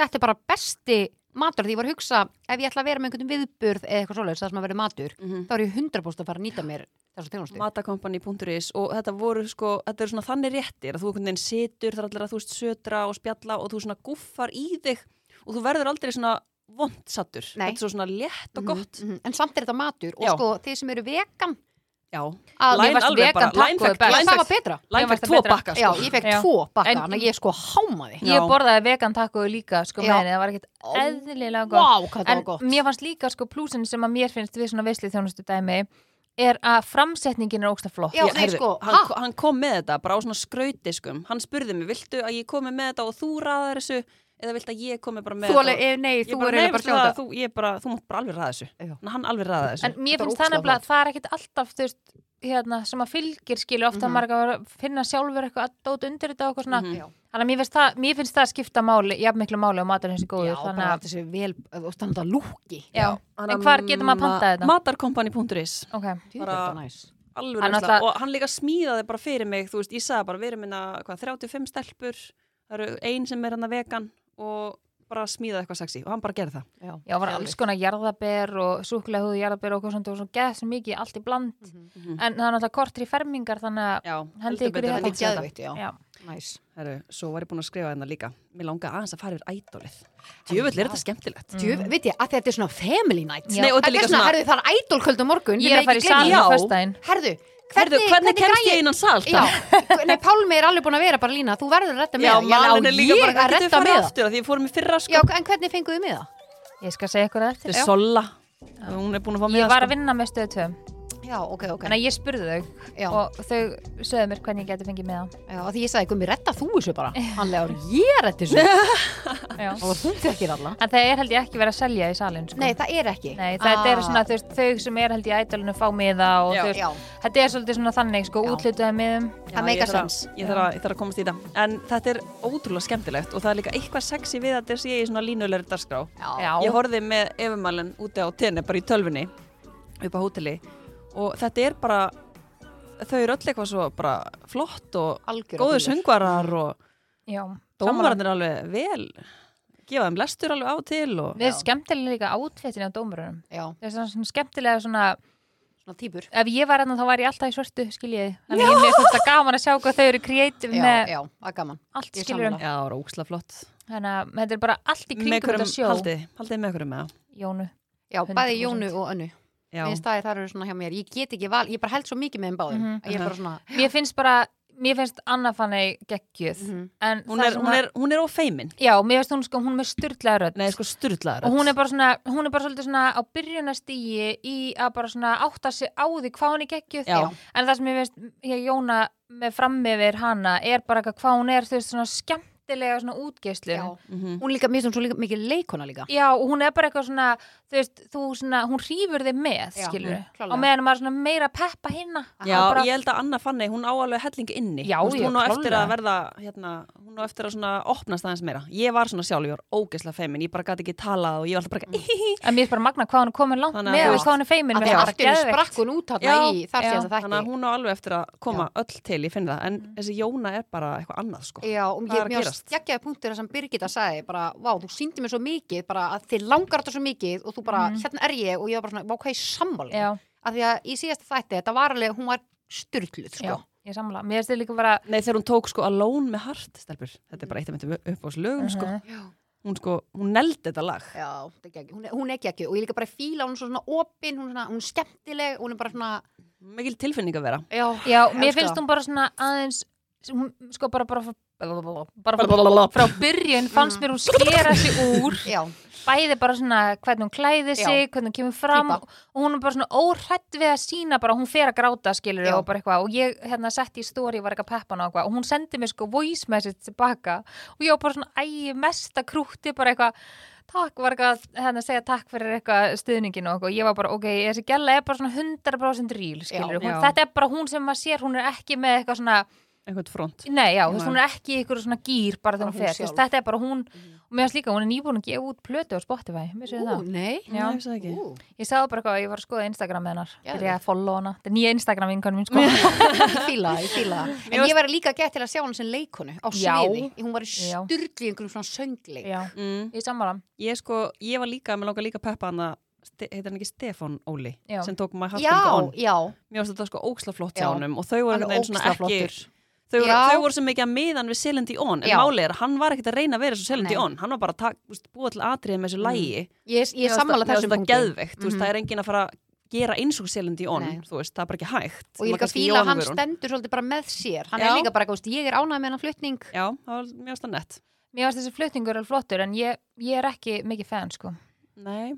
Þetta er bara besti matur því ég var að hugsa ef ég ætla að vera með einhvern viðburð eða eitthvað svoleiðis það sem að vera matur, Mhm. þá er ég 100% að fara að nýta mér þessu þjónustu. Matakompanið.is og þetta voru sko, þetta eru svona þannig réttir að þú einhvern veginn situr þar allir að þú veist södra og spjalla og þú svona guffar í þig og þú verður aldrei svona vondsatur. Nei. Þetta er svo svona létt og gott. Mhm, mhm, En samt er þetta matur og Já. sko þeir sem eru vegan, Já, Að- Line Mér varst alveg vegan bara, taco line er fekk- best. line það var fekk- betra. line Mér fekk varst það tvo betra. bakka sko. Já, ég fekk Já. tvo bakka, En- þannig að ég sko hámaði. Já. ég borðaði vegan taco líka sko Já. með henni, það var ekkert eðlilega Vá, gott hvað það var en gott. mér fannst líka sko plúsin sem að mér finnst við svona veislu þjónustu dæmi er að framsetningin er ókslega flott Já, Já, nei, heyrðu, sko, hann, ha? hann kom með þetta bara á svona skrautiskum hann spurði mig, viltu að ég komi með þetta og þú ræðar þessu eða viltu að ég komi bara með Þú alveg, eh, nei, Ég þú er eiginlega bara að sjá þetta. þú, ég bara, þú mátt bara alveg ræða þessu Já. en hann alveg ræða þessu en mér Þetta var finnst það ógeðslega nefnilega að það er ekkert alltaf þú veist, hérna, sem að fylgir skilu ofta Mhm. mm -hmm. að finna sjálfur eitthvað að dóta undir þetta og eitthvað svona Já. þannig að mér finnst það, mér finnst það skipta máli jafn miklu máli og matur hans er góður Já, þannig bara að, þessi vel, og standa lúki. já, en hvar getur maður að panta þetta? Matarkompani.is ok, Djú, Bara- þetta er næs. alveg Hann hann alltaf- og hann líka smíðaði bara fyrir mig þú veist, ég sagði bara, við erum minna hvað, 35 stelpur, það eru ein sem er hann að vegan og bara smíðaði eitthvað sexy og hann bara gerði það Já, já, var alls konar jarðaber og súkulega húðu jarðaber og eitthvað svona og svo geð sem mikið Mhm, Mhm. allt í bland en það er náttúrulega kortri fermingar þannig að Já, hendi heldur ykkur í betur. þetta Þetta er geðveikt, já. já. Næs. Heru, svo var ég búin að skrifa hérna líka. Mér langaði aðeins að fara yfir ædólið. Djöfull er þetta skemmtilegt. Djú, veit ég, að þetta er svona family night. Já. Nei, og þetta er Þetta líka er svona, svona- herðu, það er ædolköld á morgun. Ég er að fara í gleyma- salin á Já. föstudaginn. Herðu, Herðu, hvernig, kemst græi- ég innan salt? Já, nei, Pálmi er alveg búin að vera bara lína, þú verður að redda með Já, það. Ég lá- malin er líka ég bara, að hvað getur við redda farið með það. aftur að því ég fórum í fyrra sko. Já, en hvernig fenguðu með það? Ég skal segja ykkur það eftir. Þetta er Solla. Hún er búin að sko. fá með Ég var að vinna með stöðu 2 Já, ok, ok. Þannig að ég spurði þau Já. og þau sögðu mér hvernig ég geti fengið með það. Já, því ég sagði, Gumi, redda þú þessu bara. Hann legar, ég reddi þessu. Já. Og þú tekir alla. En það er held ég ekki verið að selja í salin sko. Nei, það er ekki. Nei, þetta Ah. eru svona þú veist, þau sem er held í ædolinu fá miða og Já. þú veist, Já. þetta er svolítið svona þannig sko, Já. útlitaði miðum. Ah, Já, það ég meikar þarf að- sens. Ég þarf að, ég þarf að komast í þetta. En þetta er ótrúlega skemmtilegt og það er líka eitthvað sexy við að þetta sé í svona línulegri dagskrá. Já. Ég horfði með efumælinn úti á tenni, bara í tölfunni, upp á hóteli og þetta er bara, þau eru öll eitthvað svo bara flott og Algjörar góðu dúllur. söngvarar og Já. dómararnir alveg vel, gefa þeim lestur alveg á og til og Við skemmtilega líka átfettin á dómurunum. Já, Það er svona- svona skemmtilega svona, svona týpur. ef ég var hérna þá var ég alltaf í svörtu, skiljiði. Þannig ég mér finnst það gaman að sjá hvað þau eru kreatív Já, með já, það er gaman. allt, ég skiljiði. Já, sammála. það var óksla flott. Þannig að þetta er bara allt í Með kringum hverjum, þetta sjó. haldið, haldið með hverjum með það. Jónu. Já, 100%. bæði Jónu og Önnu. Já, Mér finnst það að það eru svona hjá mér. Ég get ekki val, ég bara held svo mikið með þeim báðum. Mhm. að ég er bara svona, Mér finnst bara, mér finnst Anna Fanny geggjöð. Mhm. En hún það er, hún er, hún er ófeimin. Já, mér finnst hún sko, hún er með styrlaða rödd. Nei, sko styrlaður. og hún er bara svona, hún er bara svolítið svona á byrjunastígi í að bara svona átta sig á því hvað hún er geggjuð Já. en það sem ég veist, ég Jóna með frammiðir hana er bara eitthvað hvað hún er þú veist svona skemmtilega svona útgeislu já. Hún líka, mér finnst hún svo líka mikið leikona líka. já, og hún er bara eitthvað svona þú veist, þú svona, hún hrýfur þig með Já, skilur, mm, klárlega. og meðan maður svona meira að peppa hinna Já, Og bara, ég held að Anna Fanny, hún á alveg hellingi inni Já, Þú veist, já, Hún á eftir að klárlega. verða, hérna, hún á eftir að svona opnast aðeins meira Ég var svona sjálf, ég var ógeðslega feimin, ég bara gæti ekki talað og ég var alltaf bara ekki en mér er bara magna hvað hún er komin langt Þannig að- með Já. við hvað hún er feimin Að mér því er bara allt er geðveikt. sprakk hún út Já, hérna í þar já. síðan það Þannig að þætti. hún á alveg eftir að koma öll til, ég finn það En Mm. þessi Jóna er bara eitthvað annað, sko Já, og Hvað er ég að mjög gerast? stjakkjaði punktur þar sem Birgitta sagði bara, vá, þú síndi mér svo mikið bara að þið langar þetta svo mikið og þú bara, hérna er ég og ég var bara svona, vá, hvað er sammáli? Já. Af því að í síðasta þætti, þetta var alveg, hún var styrluð, já, sko. ég samla, mér finnst þið líka bara Nei, þegar hún tók sko Alone með Heart, stelpur Þetta er bara eitt af myndum upp á þessu lögum, Já. sko Hún sko, hún neldi þetta lag Mhm. Já, þetta er ekki, hún er, hún er ekki ekki og ég líka bara fíla, hún er svona opin, hún er, svona, hún er skemmtileg, hún er bara svona, Mikil tilfinning að vera já, Já, mér elska finnst það. hún bara svona aðeins hún, sko bara, bara, frá- bara, bara frá byrjun fannst mér hún skera sig úr já, bæði bara svona hvernig hún klæði Já. sig hvernig hún kemur fram Týpa. og hún er bara svona óhrætt við að sína bara hún fer að gráta skilur Já. og bara eitthvað og ég hérna setti í stóri var eitthvað peppan og eitthvað og hún sendi mér sko voice message tilbaka og ég var bara svona æg mesta krútti bara eitthvað takk var eitthvað hérna að segja takk fyrir eitthvað stuðningin og eitthvað og ég var bara ok, þessi gæla er bara svona 100% ríl skilur Já. hún, Já. þetta er bara hún sem maður sér hún er ekki með eitthvað svona Einhvern front Nei, já, þú veist, Nei. hún er ekki í ykkur svona gýr bara Bara þegar hún hún fer, þú veist, sjálf. þetta er bara hún og mér finnst líka, hún er nýbúin að gefa út plötu á Spotify, mér séu ú, það nei, Já. Nei, ég sagði ekki. ú, Ég sagði bara eitthvað, ég var að skoða Instagram með hennar Geðveikt. byrjaði að follow hana, þetta er nýja Instagram vinkanum mín sko, ég fíla það, ég fíla það. En ég var líka gett til að sjá hann sem leikonu á Já. sviði, hún var í Já. styrlu í einhverjum svona söngleik. já, mm. ég er sammála Ég sko, ég var líka, mér langar líka að peppa hana Ste- heitir hann ekki Stefán Óli Já. sem tók My Heart Will Go Já, On já, mér varst þetta sko óksla flott Já. hjá honum og þau voru Hann er einhvern veginn svona ógeðslega ekki flottur. þau voru, Já. þau voru sem ekki að miðan við Celine Dion en Já. málið er að hann var ekkert að reyna að vera svo Celine Nei. Mm. Dion hann var bara að tak- þú veist, búa til atriðið með þessu lægi ég, ég sammála þessum það punkti. Mhm. geðveikt, mm veist, það er engin að fara að gera eins og Celine Dion Nei. þú veist, það er bara ekki hægt og ég Maður líka kannski fíla Jóhanna að hann Guðrún. stendur svolítið bara með sér hann Já. er líka bara, þú veist, ég er ánægð með hann flutning Já, það var mjög stað nett Mér finnst þessi flutningur alveg flottur en ég, ég er ekki mikið fan sko Nei,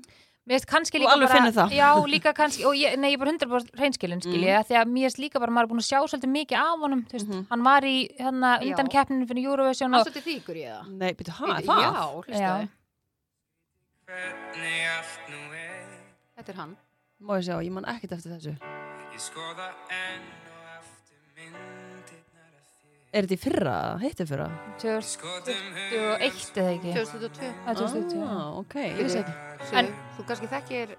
Mér finnst kannski Þú líka alveg finnur bara það. Já, líka kannski, og ég, nei, ég er bara 100% reynskilin skilji, mm. því að mér finnst líka bara maður er búin að sjá svolítið mikið af honum, þú veist, hann var í hérna, Já. undan keppninu fyrir Eurovision og, hann svolítið þýkur ég það nei, byrju, hæ, Bíddu, það? já, hlustaðu, Já. Hvernig allt nú er þetta er hann Má ég sjá, ég man ekkert eftir þessu Ég skoða enn og aftur myndirnar af þér Er þetta í fyrra, heitti fyrra? Skoðum 2021 eða ekki 2002, Já, 2021 Ah, ok, ég vissi ekki en þú kannski þekkir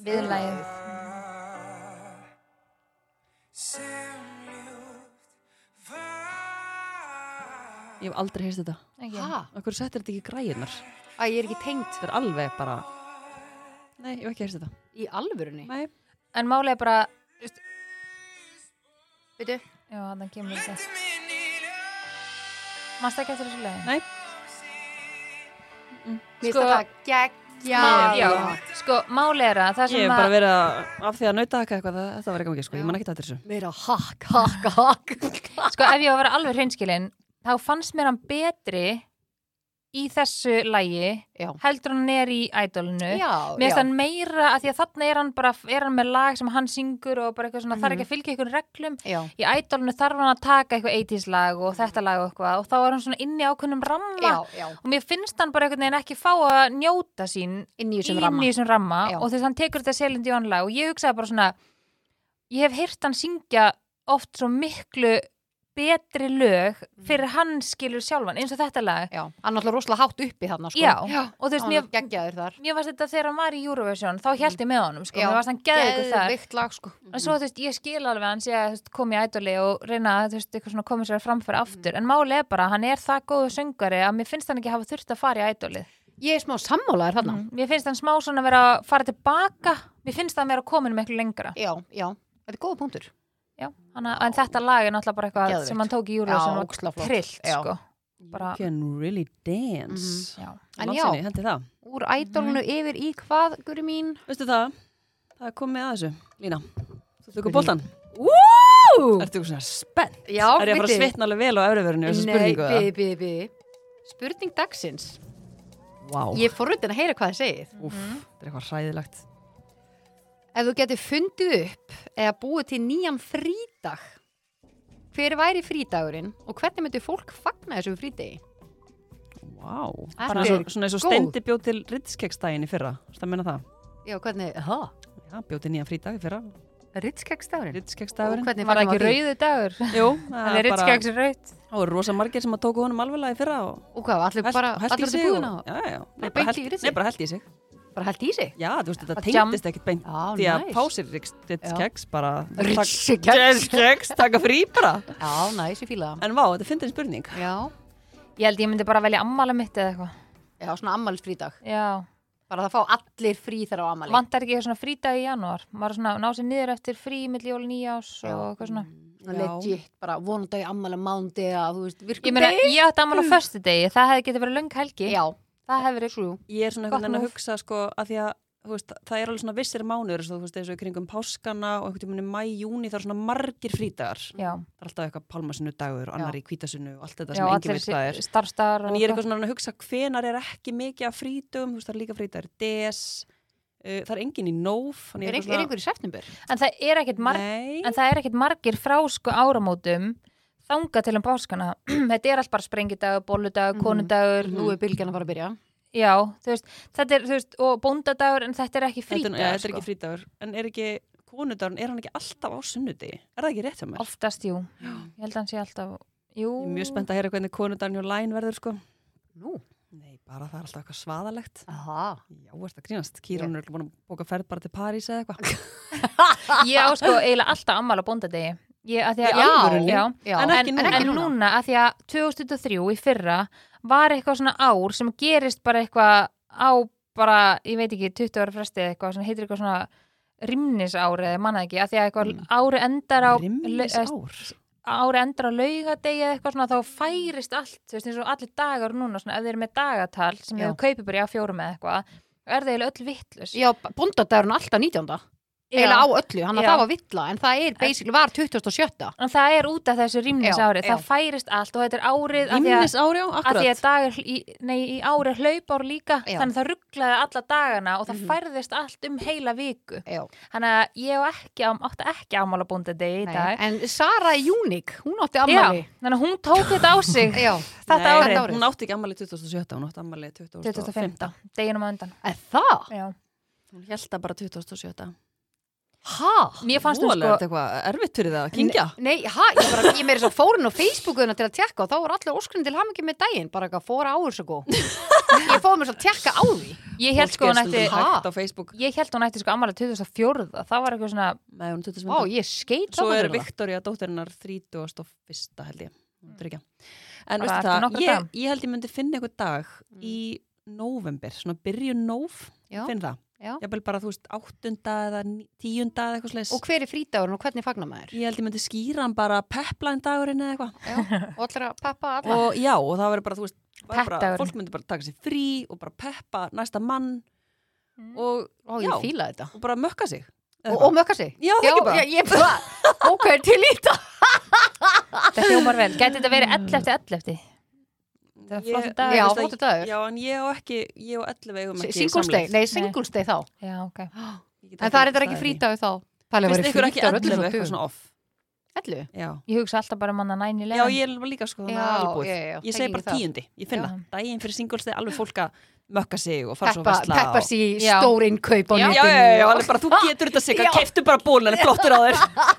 viðlægið hugar sem ljúft var Ég hef aldrei heist þetta hæ, Akkur settir þetta ekki í græðunar? að ég er ekki tengt Þetta er alveg bara Nei, ég hef ekki heyrst þetta í alvörunni Nei, en málið er bara veitu, já, þannig kemur þetta Minni ljós mannst ekki eftir þessu leiði? Nei. Mér Sko- finnst þetta geggja Má- Já, sko, máli er að það Ég hef sem bara að verið að, af því að nauta haka eitthvað, það- þetta var ekki mikið, sko, ég man ekki þetta þessu. Meira hakk, hakk, hakk sko, ef ég var að vera alveg hreinskilin þá fannst mér hann betri í þessu lægi Já. heldur hann er í ædolinu Mér Já, já. finnst hann meira, að því að þarna er hann bara er hann með lag sem hann syngur og bara eitthvað svona, þarf ekki að fylgja einhvern reglum Já. í ædolinu þarf hann að taka eitthvað 80s lag og þetta lag og eitthvað og þá er hann svona inni ákveðnum ramma Já, já. og mér finnst hann bara einhvern veginn ekki fá að njóta sín Inni í þessum ramma. þessum ramma Já. og þess að hann tekur þetta Celine Dion lag og ég hugsaði bara svona ég hef heyrt hann syngja oft svo miklu betri lög Mm. fyrir hann skilur sjálfan eins og þetta lag Já, hann er alltaf rosalega hátt uppi þarna sko. Já. og þú veist, hann er mér, geggjaður þar mér varst þetta þegar hann var í Eurovision þá held ég með honum, sko, Já. mér varst hann geðið þar Geðveikt lag sko en svo þú veist, ég skil alveg að hann sé að þú veist, koma í ædoli og reyna að þú veist, eitthvað svona koma sér Mm. framfyrir aftur, en máli er bara að hann er það góðu söngari að mér finnst hann ekki hafa þurft að fara í ædolið Ég er smá sammálaður þarna Mér finnst hann smá svona vera að fara tilbaka Mér finnst hann vera komin með eitthvað lengra Já, já, þetta er góða punktur Já, hana, En þetta lag er náttúrulega bara eitthvað Geðveikt. sem hann tók í Já, Eurovision ógeðslega flott. trillt Já. Mhm. sko. bara, You can really dance. já. En Langt já. síðan ég hendi það. Úr Mm. ædolunu yfir í hvað, guri mín? Veistu það, það er komið að þessu, Lína. Þú tökur boltan. Ú! Ertu eitthvað svona spennt? Já, Er ég að fara að bíddu. svitna alveg vel á efriverðinu þessa Nei, spurningu? biði, biði, biði Spurning dagsins Vá, Ég er forröndin að heyra hvað það segið úff, þetta er eitthvað hræðilegt. Ef þú getur fundið upp eða búið til nýjan frídag Hver væri frídagurinn og hvernig myndir fólk fagna þessum frídegi? Vá, Þetta bara eins og- svona eins og góð. stendi bjóð til rittskegstægin í fyrra, það meina það. Já, hvernig, ha? Já, bjóð til nýjan frídag í fyrra, Ritskegstagurinn? rittskegstægurinn. Hvernig Var það fagnar ekki maður því? rauðu dagur? Jú, Það er bara- ritskjöks raut Það voru rosa margir sem að tóku honum alveglega í fyrra og Og hvað, allir held- bara, og held allir út í sig búðina og- Já, já, nei, bara Bara beint í held- risið? nei, bara held í sig og bara held í sig Já, þú veist, þetta Að jam- tengdist ekkit beint Já, Því að nice. pásir rittskeks bara Rittskeks. Rittskeks, taka frí bara Já, næs, ég fíla það En vá, þetta finnir spurning Já, Ég held ég myndi bara velja ammala mitt eða eitthvað já, svona ammælisfrídag Já, Bara það fá allir frí þar á ammæli vantar ekki eitthvað svona frídag í janúar Maður svona ná sér niður eftir frí milli jól og nýjás og eitthvað svona Já. Legit, bara vonundagi ammæli mándi að þú veist, virkum Ég meina, ég átti ammala á föstu það hefði getið verið löng helgi Já, Það hefði verið true Ég er svona Gott einhvern veginn að move. hugsa sko að því að þú Veist, það er alveg svona vissir mánuður svo, þú veist, eins og í kringum páskana og einhvern veginn í mæ, júni það eru svona margir frítagar það Já, er alltaf eitthvað palmasinu dagur og annar í kvítasinu og allt þetta já sem engin allir veit hvað er starfstar En ég er eitthvað svona að hugsa hvenar er ekki mikið af frítum, þú veist það er líka frítar des, uh, það er engin í nóf þannig Er, ég ein, er einhver í september? En það er ekkert marg Nei, en það er ekkert margir frá sko áramótum þanga til um páskana þetta er allt bara sprengidagur, bolludagur, Mhm. konudagur Nú er bylgjan að fara að byrja já, þú veist, þetta er, þú veist, og bóndadagur en þetta er ekki þetta er- frídagur ja, þetta er sko. ekki frítagur En er ekki konudagurinn, er hann ekki alltaf á sunnudegi? Er það ekki rétt hjá mér? oftast, jú, ég held að hann sé alltaf jú, Ég er mjög spennt að heyra hvernig konudagurinn hjá Læn verður sko Nú? Nei, bara það er alltaf eitthvað svaðalegt Aha Já, er þetta grínast? Kýrún er búin að bóka ferð bara til París eða eitthvað ég á sko eiginlega alltaf ammál á bóndadegi ég, að því að Já, já, já. en, ekki núna. en núna, að því að 2003 í fyrra var eitthvað svona ár sem gerist bara eitthvað á bara, ég veit ekki, 20 ára fresti eða eitthvað, svona heitir eitthvað svona rimnisár eða ég manna ekki, að því að eitthvað ári endar á Rimmis eh, ár ári endur á laugadegi eða eitthvað svona þá færist allt, þú veist eins og allir dagar núna svona, ef þeir eru með dagatal sem Já. ég kaupi bara í A4 með eitthvað er þeir öll vittlust Já, bóndadagurinn alltaf 19. Eða á öllu, hann að Já. það var villa En það er basically, var 27. En það er út af þessu rýmnis Já, árið, já. það færist allt og þetta er árið af því að- Rimmis ár, að því já, að akkurat dagar, í, nei, í ári hlaupár líka, Já. þannig Mhm. að það rugglaði alla dagana og það færðist allt um heila viku. Já, Þannig að ég á ekki, ám- átti ekki ámála bóndadegi í nei dag. En Sara er uník, hún átti Já, ammæli þannig að hún tók þetta á sig Já, þetta Nei, árið, árið. Hún átti ekki ammali 2017, hún átti ammali 2015 2015, deginum á undan. er það? Já. Hún held það bara 2017. Ha? Mér fannst hún Mólega sko, er þetta eitthvað erfitt fyrir það að kingja. Nei, ha, ég, bara, ég meira svo fórun á Facebookuna til að tjekka og þá var allir óskurinn til hamingi með daginn, bara eitthvað fóra áur svo góð. Ég fóði mér svo að tjekka á því. ég held sko hún ætti, Ha? hægt á Facebook. ég held hún ætti sko ámála 2004, það var eitthvað svona, Nei, hún er Vá, 2015. ég skeit Svo þarna er fyrir það. Viktoria dóttirinnar 31. held ég. Hún er ekki. Bara En veistu eftir Mm. það, nokkra ég, daga. ég held ég myndi finna eitthvað dag í november, svona byrju nóf, Já. finn það. Já. Ég vil bara, þú veist, áttunda eða ní- tíunda eða eitthvað slags. Og hver er frítagurinn og hvernig fagnar maður? Ég held ég myndi skýra hann bara pepla en dagurinn eða eitthvað. Já, og allir að peppa alla. Og já, og það verður bara, þú veist, bara, bara, Peppdagurinn. fólk myndi bara taka sér frí og bara peppa næsta mann Mm. og, Ó, já. ég fíla þetta. og bara mökka sig. eða Og, eitthvað. og mökka sig. Já, það ekki bara. Já, ég bara, ok, til í þetta. Þetta hljómar vel. Gæti þetta verið 11 eftir 11 eftir? Þetta er Ég- flott ég dag. Já, veist að- flottur dagur. Já, en ég og ekki, ég og 11 eigum ekki Singles day, samleið. nei, singles day þá. Já, ok. Ég get En það er þetta það ekki frítagur þá. Það Finnst er ykkur ekki frítagur 11 öllum eitthvað svona off? Ellu? Já, Ég hugsa alltaf bara um manna næni já ég er líka sko þannig Já, að alveg já, já, búið. Ég það segi gengur bara það. tíundi, ég finna. Já. Daginn fyrir singles þegar alveg fólk að mökka sig og fara svo að Peppa, vesla. peppa og- sig í Já. stór innkaup á Já, netinu. já, já, já, alveg bara þú getur þetta sig að Já. keftu bara bólan en flottur á þér.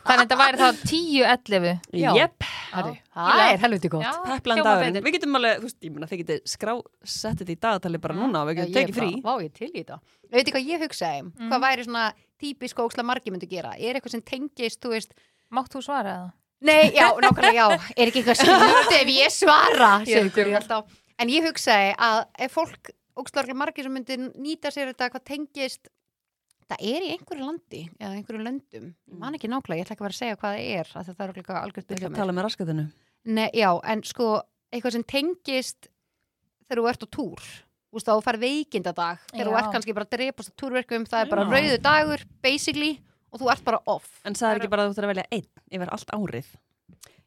Þannig að þetta væri þá 10-11. Já. Jep, Herru, Já. Það er helviti gott. peplan dagurinn. Við getum alveg, þú veist, ég meina, þið getur skrá, sett þetta í dagatali bara núna og við Já, getum ég er tekið bara, frí. Mm. Vá, ég er til í þetta. Veitir hvað ég hugsaði? um? Hvað væri svona típisk og ókslega margir myndi gera? Er eitthvað sem tengist, þú veist, Mátt þú svara það? Nei, já, nákvæmlega, já, er ekki eitthvað skrítið ef ég svara, segir Guri alltaf. En ég hugsaði að ef fólk, ógstlarlega margir sem myndi nýta sér þetta, hvað tengist, það er í einhverju landi, eða einhverju löndum, ég man ekki nákvæmlega, ég ætla ekki að vera að segja hvað það er, að það er okkur algjörð Við byrja getum með. talað með raskatinu. Nei, já, en sko, eitthvað sem tengist þegar þú ert á túr, þú veist, þá þú fær veikindadag, þegar þú Já. ert kannski bara að drepast á túrverkum, það er bara Já. rauðu dagur, basically, og þú ert bara off. En það er ekki bara að þú þarf að velja einn yfir allt árið.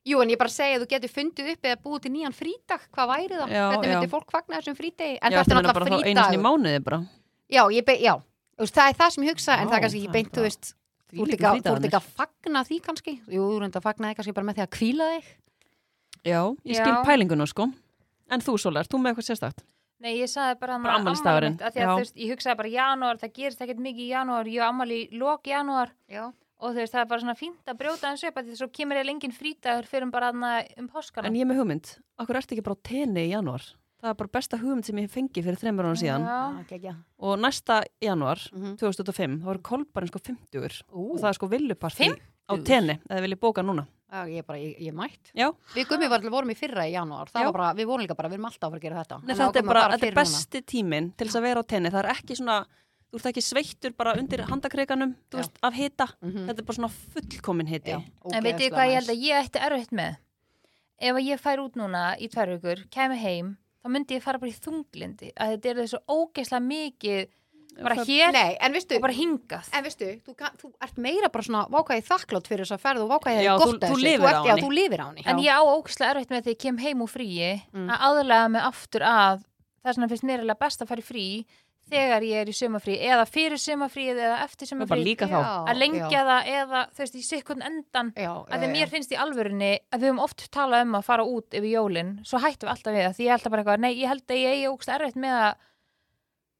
Jú, en ég bara segi að þú getur fundið upp eða búið til nýjan frídag, hvað væri það? Já, já. Hvernig myndi fólk fagna þessum frídegi? En Já, ertu þetta er að meina bara þá náttúrulega einu sinni í frídag. mánuði bara. Já, ég be, já. Þú Veist, það er það sem ég hugsa, en Vá, það er kannski það ekki er beint, þú bara veist, þú ert Þvílíkur ekki að- þú ert frídagarnir. ekki að fagna því kannski. Jú, þú ert að fagna því kannski bara með því að kvíla þig. Já, ég skil Já. pælinguna sko. En þú, Solar, þú með eitthvað sérstakt? Nei, ég sagði bara hann Bara afmælisdagurinn, já. Ég hugsaði bara janúar, það gerist ekkert mikið í janúar, ég á ammali í lok janúar Já. og þú veist, það er bara svona fínt að brjóta hans upp að því svo kemur ég lengin frítagur fyrir bara hann um páskana. En ég er með hugmynd, akkur ert ekki bara á tenni í janúar? Það er bara besta hugmynd sem ég hef fengið fyrir þreymur ára síðan Já, ekki, ekki. og næsta janúar Mhm. 2005, þá er kolbarinn sko 50 Ú. og það er sko villuparti á tenni eða vil ég bóka núna. Já, ég er bara, ég, ég er mætt. Já, Við gummi var, vorum í fyrra í janúar, það Já. var bara, við vorum líka bara, við erum alltaf að fara að gera þetta. Nei, Þannig að þetta er ákveðum að bara, þetta er fyrir núna. besti tíminn til þess að vera á tenni, það er ekki svona þú ert ekki sveittur bara undir handakreikanum þú Já. veist, af hita, Mhm. þetta er bara svona fullkomin hiti. Já, En ógeðslega veitu þið hvað ég næs. held að ég ætti erfitt með? Ef að ég fær út núna í tvær vikur, kemur heim, þá myndi ég fara bara í þunglindi að þetta er þessu ógeðslega mikið bara Það- hér Nei, en veistu, og bara hingað. En veistu, þú, kann- þú ert meira bara svona vákaði þakklátt fyrir þess að ferð og vákaði Já, það þú- er gott að þú þessu. lifir ert- á Já, henni. þú lifir á henni. En ég á ógeðslega erfitt með þegar ég kem heim úr fríi Mm. að aðlega mig aftur að það er svona finnst mér eiginlega best að fara í frí þegar ég er í sumafrí eða fyrir sumafrí eða eftir Það er bara sumafrí líka Já, þá. að lengja það eða þú veist í sikkun endan já, að því mér finnst í alvörunni að við höfum oft talað um að fara út yfir jólin svo hættum við alltaf við það því ég held að bara eitthvað nei, ég held að ég eigi ógst erfitt með að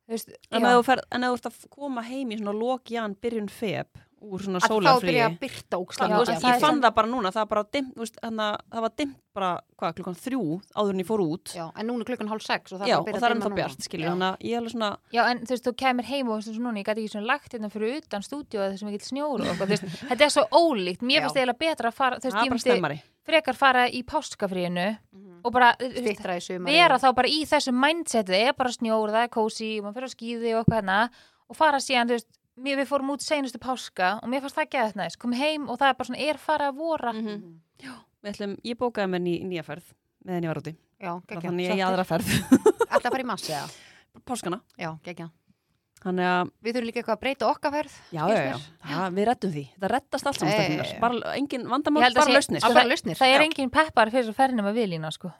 þú veist, En já, ef þú, fer, en ef þú ert að f- koma heim í svona lokjan byrjun feb úr svona að þá sólarfríi byrja að byrta Þú ókslega Já, veist, mikið. það Ég er fann það bara núna, það, bara dim, veist, hana, það var dimmt bara hva, klukkan þrjú áður en ég fór út Já, en núna er klukkan hálf sex og það Já, er og bara að það er dimma ennþá núna. bjart skilur, Já. þannig að ég er alveg svona já, en þú veist, þú kemur heim og þú veist, núna, ég gæti ekki svona lagt hérna fyrir utan stúdíu eða þessum ekki snjóru og eitthvað, þú veist, þetta er svo ólíkt mér Já. finnst eiginlega betra að fara, þú það er bara veist, ég myndi stemmari frekar fara í páskafríinu Mhm. og bara, þú veist, Styttra í sumar. vera þá bara í þessu mindsetu, það er bara snjór, það er kósi og maður fyrir að skýði og eitthvað hérna og fara síðan, þú veist, mér, við fórum út seinustu páska og mér fannst það ekki að þetta næst, kom heim og það er bara svona, er farið að vora Mhm. Við ætlum, Ég bókaði mér ný, nýja ferð meðan ég var úti, Já, geggja. þannig að ég í aðra ferð Alltaf fara í massi, já. Páskana Já, geggja. Þannig að, Við þurfum líka eitthvað að breyta okkar ferð. já, skilst já, já, mér. það, við rettum því Þetta rettast allt saman Já, já, já, stefnir já. bara, Engin Ég vandamál, held að bara sé- lausnir Að Sko, bara lausnir. það er Já. engin peppar fyrir ferðinum að viljína, sko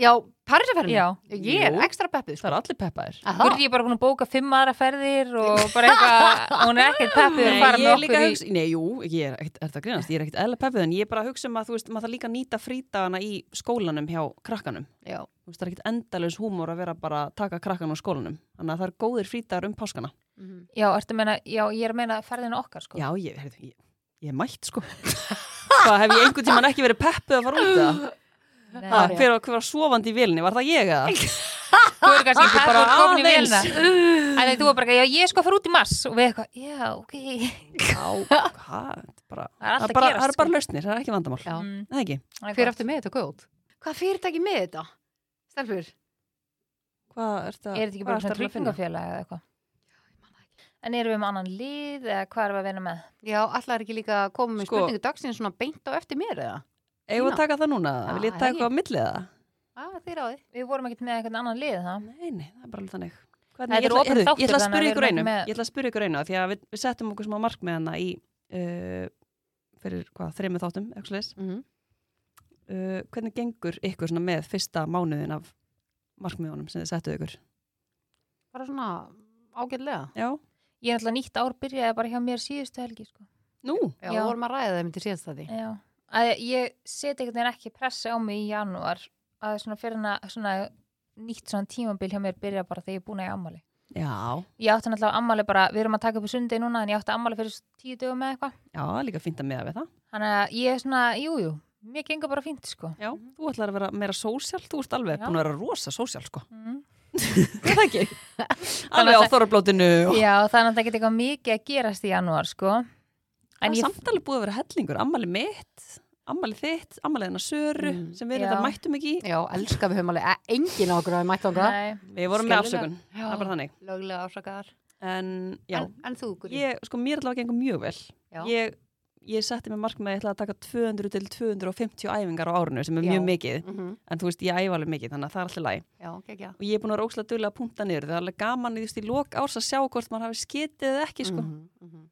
Já, Parísaferðin. Já. Ég er Jú. ekstra peppuð, Það sko. er allir peppaðir Aha. Gurri er bara búin að bóka fimm aðra ferðir og bara eitthvað, og hún er ekkert peppið að fara Nei, ég með er líka okkur að í hugsa, nei, jú, ég er ekkert, er það grínast, ég er ekkert eðla peppuð, en ég er bara að hugsa um að, þú veist, maður það líka að nýta frítagana í skólanum hjá krakkanum. Já. Þú veist, það er ekkert endalaus húmor að vera bara að taka krakkan úr skólanum. Þannig að það er góðir frítagar um páskana. Mhm. Já, ertu að meina, já, ég er að meina ferðinu okkar, sko Já, ég, heyrðu, ég, ég er mætt, sko. Hvað, hef ég einhvern tíman ekki verið peppuð að fara út það? Nei, Ha, hver, var- hver var sofandi í vilni, var það Ah, ég eða? Þú er kannski Ég peppuð bara og komin í aðeins. vélina Þannig að þú er bara, já, ég er sko að fara út í mass og við eitthvað, já, ok Já, hvað, þetta er bara, Það er allt að gerast, bara, það er sko. bara lausnir, það er ekki vandamál. Já. Mm, Það er ekki. það er Hver gott. aftur með þetta góð? Hvað fyrirtæki með þetta? Stelfur? Hvað er þetta? Er þetta ekki bara svona tryggingafélag eða eitthvað? En erum við með annan lið eða hvað erum við að vinna með? Já, allar er ekki líka að koma með Sko. spurningu dagsinn svona beint á eftir mér eða? Eigum við Ína. að taka það núna? Ah, Vil ég það taka er eitthvað á millið það? Já, ah, þeir á því. Við vorum ekkert með eitthvað annan lið það. Nei, nei, það er bara alveg þannig. Þetta Hvernig, ég, er ætla, opinn heyrðu, þáttur, ég ætla að þannig að spyrja við ykkur erum einu, með- ég ætla að spyrja ykkur einu, af því að við, við settum okkur smá mark með hana í, uh, fyrir hvað, þreymið þáttum, eitthvað slags. Mm -hmm. Uh, hvernig gengur ykkur svona með fyrsta mánuðin af markmiðunum sem þið settuð ykkur? Bara svona ágætlega. Já, Ég er alltaf nýtt ár byrjaði bara hjá mér síðustu helgi sko. nú, Já, Já. við vorum að ræða þeim til síðast það því. Eh. Já. Að ég seti einhvern veginn ekki pressi á mig í janúar að svona fyrir hana svona nýtt svona tímabil hjá mér byrja bara þegar ég er búin að ég ammali. já, Ég átti náttúrulega ammali bara, við erum að taka upp í sundi núna en ég átti ammali fyrir tíu dögum eða eitthvað. já, líka fínt að meða við það. Þannig að ég er svona, jújú, jú, mér gengur bara fínt sko. Já, þú ætlar að vera meira sósjál, þú ert alveg Já. búin að vera rosa sósjál, sko. Mm. Er það ekki? alveg á þorrablótinu og... Já, þannig að það geti eitthvað mikið að gerast í janúar sko. Það En er ég samt alveg búið að vera hellingur, ammali mitt, ammali þitt, ammali hennar Söru Mm. sem við Já. þetta mættum ekki í. Já, elska við höfum alveg e- engin á okkur að við mættu okkur. Nei, Við vorum með Skelfilega. afsökun, það er bara þannig. Löglega ásakaðar. En já, En, en þú, Guri? ég, sko mér allavega gengur mjög vel. Já. Ég, ég setti mér markmið að ég ætla að taka 200 til 250 æfingar á árinu sem er Já. mjög mikið. Mm -hmm. En þú veist, ég æfa alveg mikið þannig að það er alltaf læg. Já, geggja. Og ég er búin að rókslega duðlega að punta niður. Það er alveg gaman í, þú veist, í lok árs að sjá hvort maður hafi skitið eða ekki, sko. Mhm, mhm.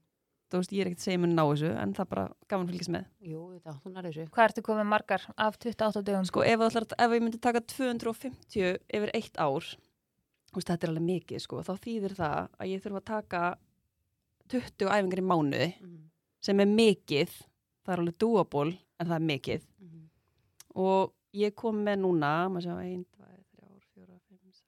Þú veist, ég er ekkert að segja mér ná þessu, en það er bara gaman að fylgjast með. Jú, þetta, hún er þessu. hvað ertu komið margar af 28 dögum? Sko, ef, þú ætlar, að- ef ég myndi taka 250 yfir eitt ár, þú veist, þetta er alveg mikið, sko. Þá þýðir það að ég þurf að taka 20 æfingar í mánuði Mm sem er mikið, það er alveg dúaból en það er mikið -hmm. og ég kom með núna, maður sjá 1, 2, 3, 4, 5, 6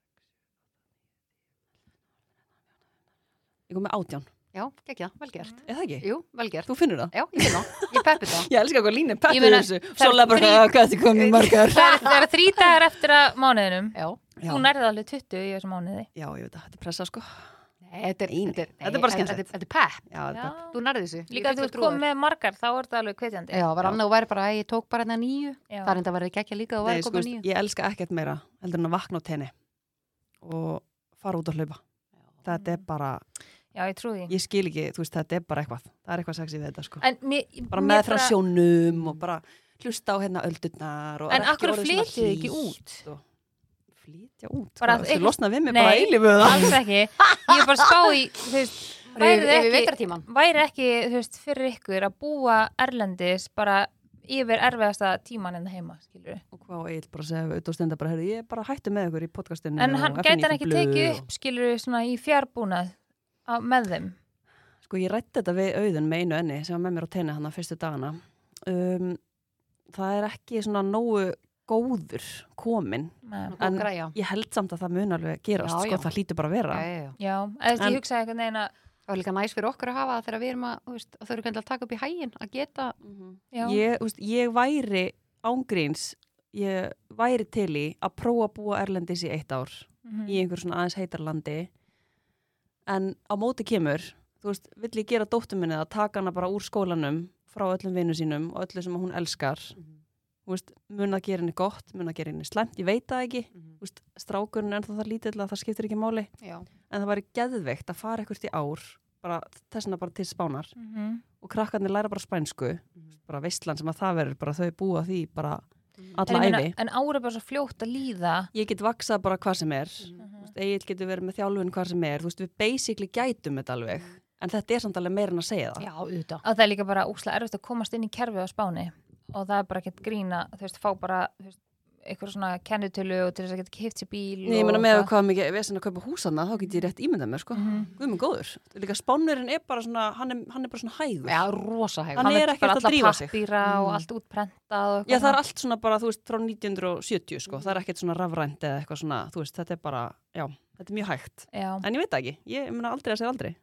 ég kom með átján, Já, geggja, vel gert. er það ekki? Jú, vel gert. Þú finnur það? Já, ég finn það. Ég peppi það. Ég elskar hvað línu, Ég pættu meina, þessu það er Sjóla bara, þrír- "Ah, hvað þið komið margar Það eru- það eru þrý dagar eftir að mánuðinum. Já. Þú nærði alveg 20 í þessum mánuði. Já, ég veit að þetta er pressa sko Nei, þetta er, Nei, nei. þetta er, nei, Þetta er bara en- skemmtilegt. Þetta er- þetta er pepp. Já, þetta Já. Þú nærði þessu. Líka Ég að þú vil ert trúa komið með margar, þá er það alveg hvetjandi. Já, var annað og væri bara, "Æ, ég tók bara hérna nýju. Já. Eh, Það er enda að vera geggja líka og Nei, væri sko, komið veist, nýju. ég elska ekkert meira heldur en að vakna á tenni og fara út að hlaupa Þetta er bara, Já, ég trúi því. ég skil ekki, þú veist, þetta er bara eitthvað Það er eitthvað sexið við þetta sko En, mér, bara mér með frá sjónum og bara hlusta á hérna öldurnar og En er ekki af hverju orðið svona flytjið þið ekki hlýtt og- flytja út, Bara bara að þessi einhvers- losna við Nei. mig bara eilífu það Alls ekki. Ég er bara að spá í, þú veist, væri Yfir- yfir þið ekki, vetrartímann. væri ekki, þú veist, fyrir ykkur að búa Erlendis bara yfir erfiðasta tíman en heima, skilur og hvað og eil bara segja auðvitað og stenda bara heyrðu, ég er bara hættu með ykkur í podcastinu En og hann FNÍ gæti hann ekki blöð tekið og- upp, skilur svona í fjárbúnað á, með þeim. sko ég rætti þetta við auðun með einu enni sem var með mér á tenni hann að fyrstu dagana um, það er ekki svona nógu góður komin Nei. Nú, En- góð græja. ég held samt að það mun alveg gerast Já, sko já. það hlýtur bara að vera Já, já, já. Já, eða þú veist, En- ég hugsaði eitthvað neina, Það var líka næs fyrir okkur að hafa það þegar við erum að, þú veist, þau eru kannski að taka upp í hæginn að geta, já, ég, úst, ég væri ángríns ég væri til í að prófa að búa Erlendis í eitt ár mhm. í einhver svona aðeins heitar landi en á móti kemur þú veist, vill ég gera dóttur minni að taka hana bara úr skólanum frá öllum vinnu sínum og öllu sem hún elskar þú veist, mun að gera henni gott mun að gera henni slæmt, ég veit það ekki Mhm. þú veist, strákurinn er ennþá það lítill að það skiptir ekki máli já, en það væri geðveikt að fara ekkert í ár bara þessna bara til spánar Mhm. og krakkarnir læra bara spænsku Mhm. bara veistlan sem að það verður bara þau búa því bara En, Mhm. alla ég æfi meina, en ára bara svo fljótt að líða ég get vaksað bara hvað sem er Mhm. mm. Egil getur verið með þjálfun hvað sem er Þú veist, við basically gætum þetta alveg en þetta er samt alveg meira en að segja það Mhm. já, auðvitað. að það er líka bara úslega erfitt að komast inn í kerfið á Spáni og það er bara ekkert grína þú veist, fá bara þú veist, eitthvað svona kennitölu og til þess að geta kipt sér bíl Nei, ég og meina það. með Mhm. hvað mikið vesen að kaupa húsana þá get ég rétt ímyndað mér Mhm. sko Guð minn góður, líka spánurinn er bara svona hann er, hann er bara svona hægur Já, rosa hægur. Hann er vill ekkert bara að alla drífa sig. Mm. pappíra og allt útprentað og Já, það er allt svona bara, þú veist, frá 1970 sko, það er Mhm. ekkert svona rafrænt eða eitthvað svona þú veist, þetta er bara, já, þetta er mjög hægt Já. en ég veit það ekki, ég meina aldrei að segja aldrei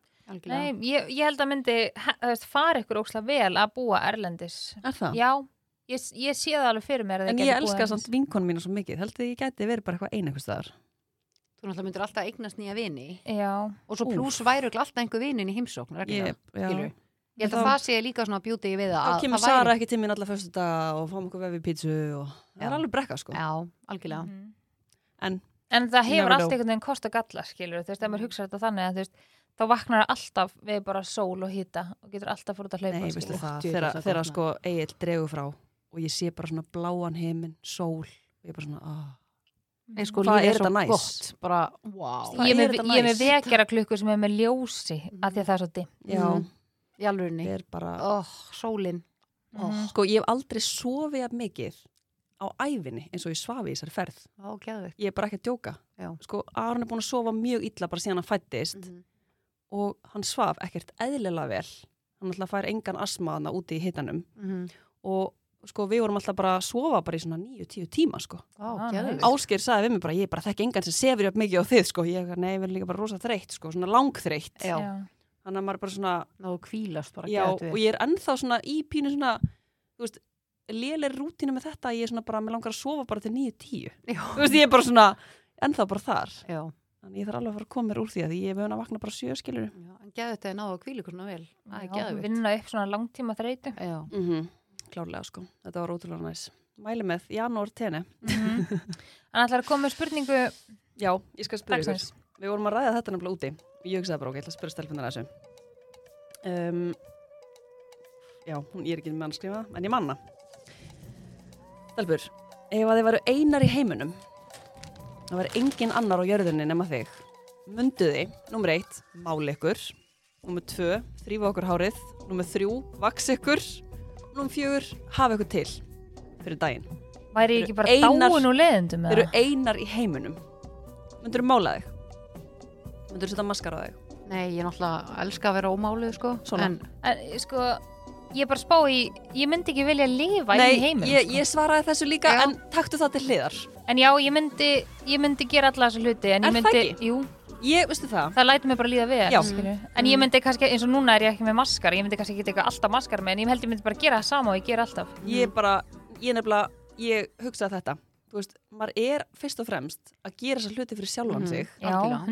Nei, ég, ég held að myndi he- þú veist, fara ykkur óslega vel að búa Erlendis Er það? Já, ég, s- ég sé það alveg fyrir mér að En þið gætu ég búið hérna. elska Erlendis. samt vinkonu mína svo mikið, heldur þið ég gæti verið bara eitthvað eina eitthvað staðar. Þú náttúrulega myndir alltaf eignast nýja vini Já, og svo Úff. pluss væri örugglega alltaf einhver vinin í heimsókn, reglulega. Ég, já. Skilurðu? Ég held Þá- að það sé líka svona bjútið við það. Þá að kemur það væri- Sara ekki til mín alla fyrstu dag og fáum okkur vefi pítsu og það er Já. alveg brekka sko. Já, algjörlega. En En það You hefur never allt know. einhvern veginn kost og galla, skilur, þú veist, ef maður hugsa þetta þannig að þú veist, þá vaknar það alltaf við bara sól og hýta og getur alltaf fór út að hlaupa Nei, sko. veistu það, djöfull, þegar það þegar gott sko Egil dregur frá og ég sé bara svona bláan heiminn, sól, ég er bara svona, ah, En sko, Hvað lífið er er svo þetta næs? gott, bara, Mhm. Hvað wow, ég er er með, þetta ég er með næs? vekjara klukku sem er með ljósi af því að það er svo dimm já, Mhm. í alvörunni. ég er bara, Oh, sólin. Oh, Mhm. sko ég hef aldrei sofið jafn mikið á ævinni eins og ég svafi í þessari ferð. Ó, geðveikt. Ég er bara ekki að djóka. Já. Sko, Aron er búin að sofa mjög illa bara síðan hann fættist Mhm. og hann svaf ekkert eðlilega vel. Hann alltaf fær engan asmaðna úti í hitanum Mhm. og sko við vorum alltaf bara að sofa bara í svona 9-10 tíma sko. Ó, Ah, nice. geðveikt. Ásgeir sagði við mig bara, ég bara þekki engan sem sefir jafn mikið á þið sko. Ég er ney, við erum líka bara rosa þreytt sko, svona langþreytt. Já. Já. Þannig að maður er bara svona, Ná, kvílast bara, já, geðveikt og ég er ennþá svona í pínu svona, þú veist, lélir rútina með þetta að ég er svona bara, mér langar að sofa bara til 9-10. þú veist, ég er bara svona ennþá bara þar Já, þannig ég þarf alveg að fara að koma mér úr því að því ég er vöna að vakna bara sjö skilur já, en geðveikt að ég náðu að kvíla ykkur svona vel. Það er Já, geðveikt. vinna upp svona langtíma þreytu Já. mm -hmm. klárlega sko, þetta var ótrúlega næs mæli með, janúar tenni Hann ætlar að koma með spurningu já, ég skal spyrja ykkur dagsins við vorum að ræða þetta nefnilega úti ég hugsaði bara ok, ég ætla að spyrja stelpunar þessu um, já, hún, ég er ekki með hann að skrifa það, en ég manna stelpur, ef að þið varu einar í heiminum það var engin annar á jörðinni nema þig mundu þið, nummer eitt, máli ykkur nummer tvö, þrýfa okkur hárið nummer þrjú, vaks ykkur nummer fjögur, hafa ykkur til fyrir daginn, Væri ég ekki bara Einar- dáin úr leðendum þið eru einar í heiminum mundur þið mála þig mundur þið setja maskar á þig Nei, ég náttúrulega elska að vera ómáluð, sko. Svona. En, en, Sko, ég bara spá í Ég myndi ekki vilja lifa í heiminn ég, sko. ég svaraði þessu líka Já. en taktu það til hliðar. En já, ég myndi, ég myndi gera alla þessu hluti En ég Er það myndi, ekki? jú, Ég, veistu það? það lætur mig bara líða vel Já. skilju. Mm. En ég myndi kannski, eins og núna er ég ekki með maskar Ég myndi kannski ekki teka alltaf maskar með En ég held ég myndi bara gera það sama og ég gera alltaf Ég bara, ég nefnilega, ég hugsaði þetta. Þú veist, maður er fyrst og fremst að gera þessa hluti fyrir sjálfan Mhm. sig Já, Algjörlega.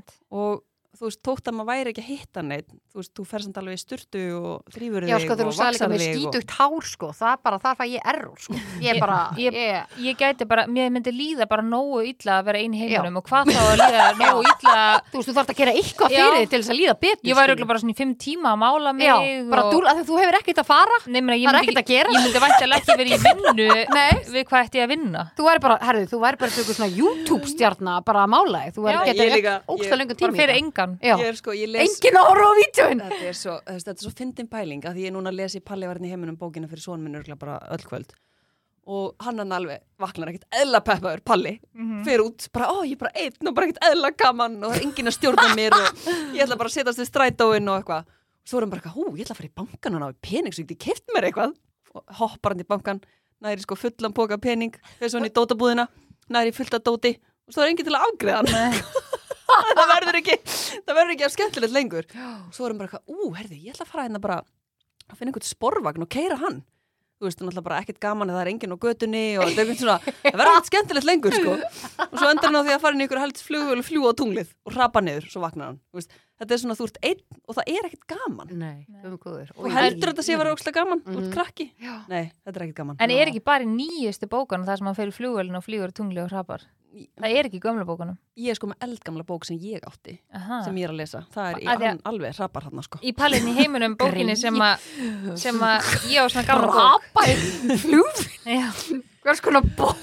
100% og þú veist, tótt að maður væri ekki að hitta neitt, þú veist, þú fer samt alveg í styrtu og þrýfur já, þig sko, þegar og þú sagði líka vaksar með þig og... skítugt hár, sko, það er bara, þar fæ ég error, sko. Ég er bara, Ég- ég, ég, Ég gæti bara, mér myndi líða bara nógu illa að vera einn heiminum og hvað þá að líða nógu illa þú veist, þú þarf að gera eitthvað Já. fyrir þig til þess að líða Ég betur. væri skilur. örugglega bara svona í fimm tíma að mála mig Já, bara dúr, af því að þú hefur ekkert að fara. Nei, meina, ég Það er myndi- ekkert að gera. Ég myndi væntanlega ekki verið í vinnu Við hvað ætti ég að vinna Þú væri bara, herðu, þú væri bara eins og einhver svona YouTube-stjarna bara að mála þig. Þú væri Já, að ég geta líka- ekki ógsta ég- lengur Bara tími. fyrir engan Já, Ég er sko, ég les... engin ára á vítjóin. Þetta er svo, þú veist, þetta er svo fyndin pæling að því ég núna lesi Palli varðin í heiminum bókina fyrir svona minn örgulega bara öll kvöld og hann hann alveg vaknar ekkert eðla peppaður Palli, fer út bara, ó ég er bara einn og bara ekkert eðla gaman og það er enginn að stjórna mér og ég ætla bara að setjast við strætóin og eitthvað svo er hann bara eitthvað, hú, ég ætla að fara í bankan og ná í pening svo ég geti keft mér eitthvað og hoppar hann í bankan, næri sko fullan póka af pening, þess hann í dótabúðina næri fullt af dóti og svo er enginn til að ágreða hann það verður ekki, það verður ekki að skemmtilegt lengur og svo erum bara eitthvað, ú, herði, ég ætla að fara hérna bara að finna einhvern sporvagn og keira hann þú veist, náttúrulega bara ekkert gaman að það er enginn á götunni og það er einhvern svona, það verður ekkert skemmtilegt lengur sko, og svo endar hann á því að fara inn í einhver helst flug og fljúa á tunglið og rapa niður, svo vaknar hann, þú veist, þetta er svona þú ert einn og það er ekkert gaman Nei, um góður. þú heldur þetta sé að vera ókslega gaman, þú ert krakki Já. nei, þetta er ekkert gaman Mhm. En er ekki bara í nýjustu bókanum þar sem hann fer í flugvelin og flýgur tungli og hrapar Það er ekki í gömla bókanum ég er sko með eldgamla bók sem ég átti sem ég er að lesa, það er í, Af því að- hann, alveg rapar hann sko. Í palinn í heiminum bókinni sem að sem að ég á svona gamla bók Rapaði flúf. Já. Hvers konar bók?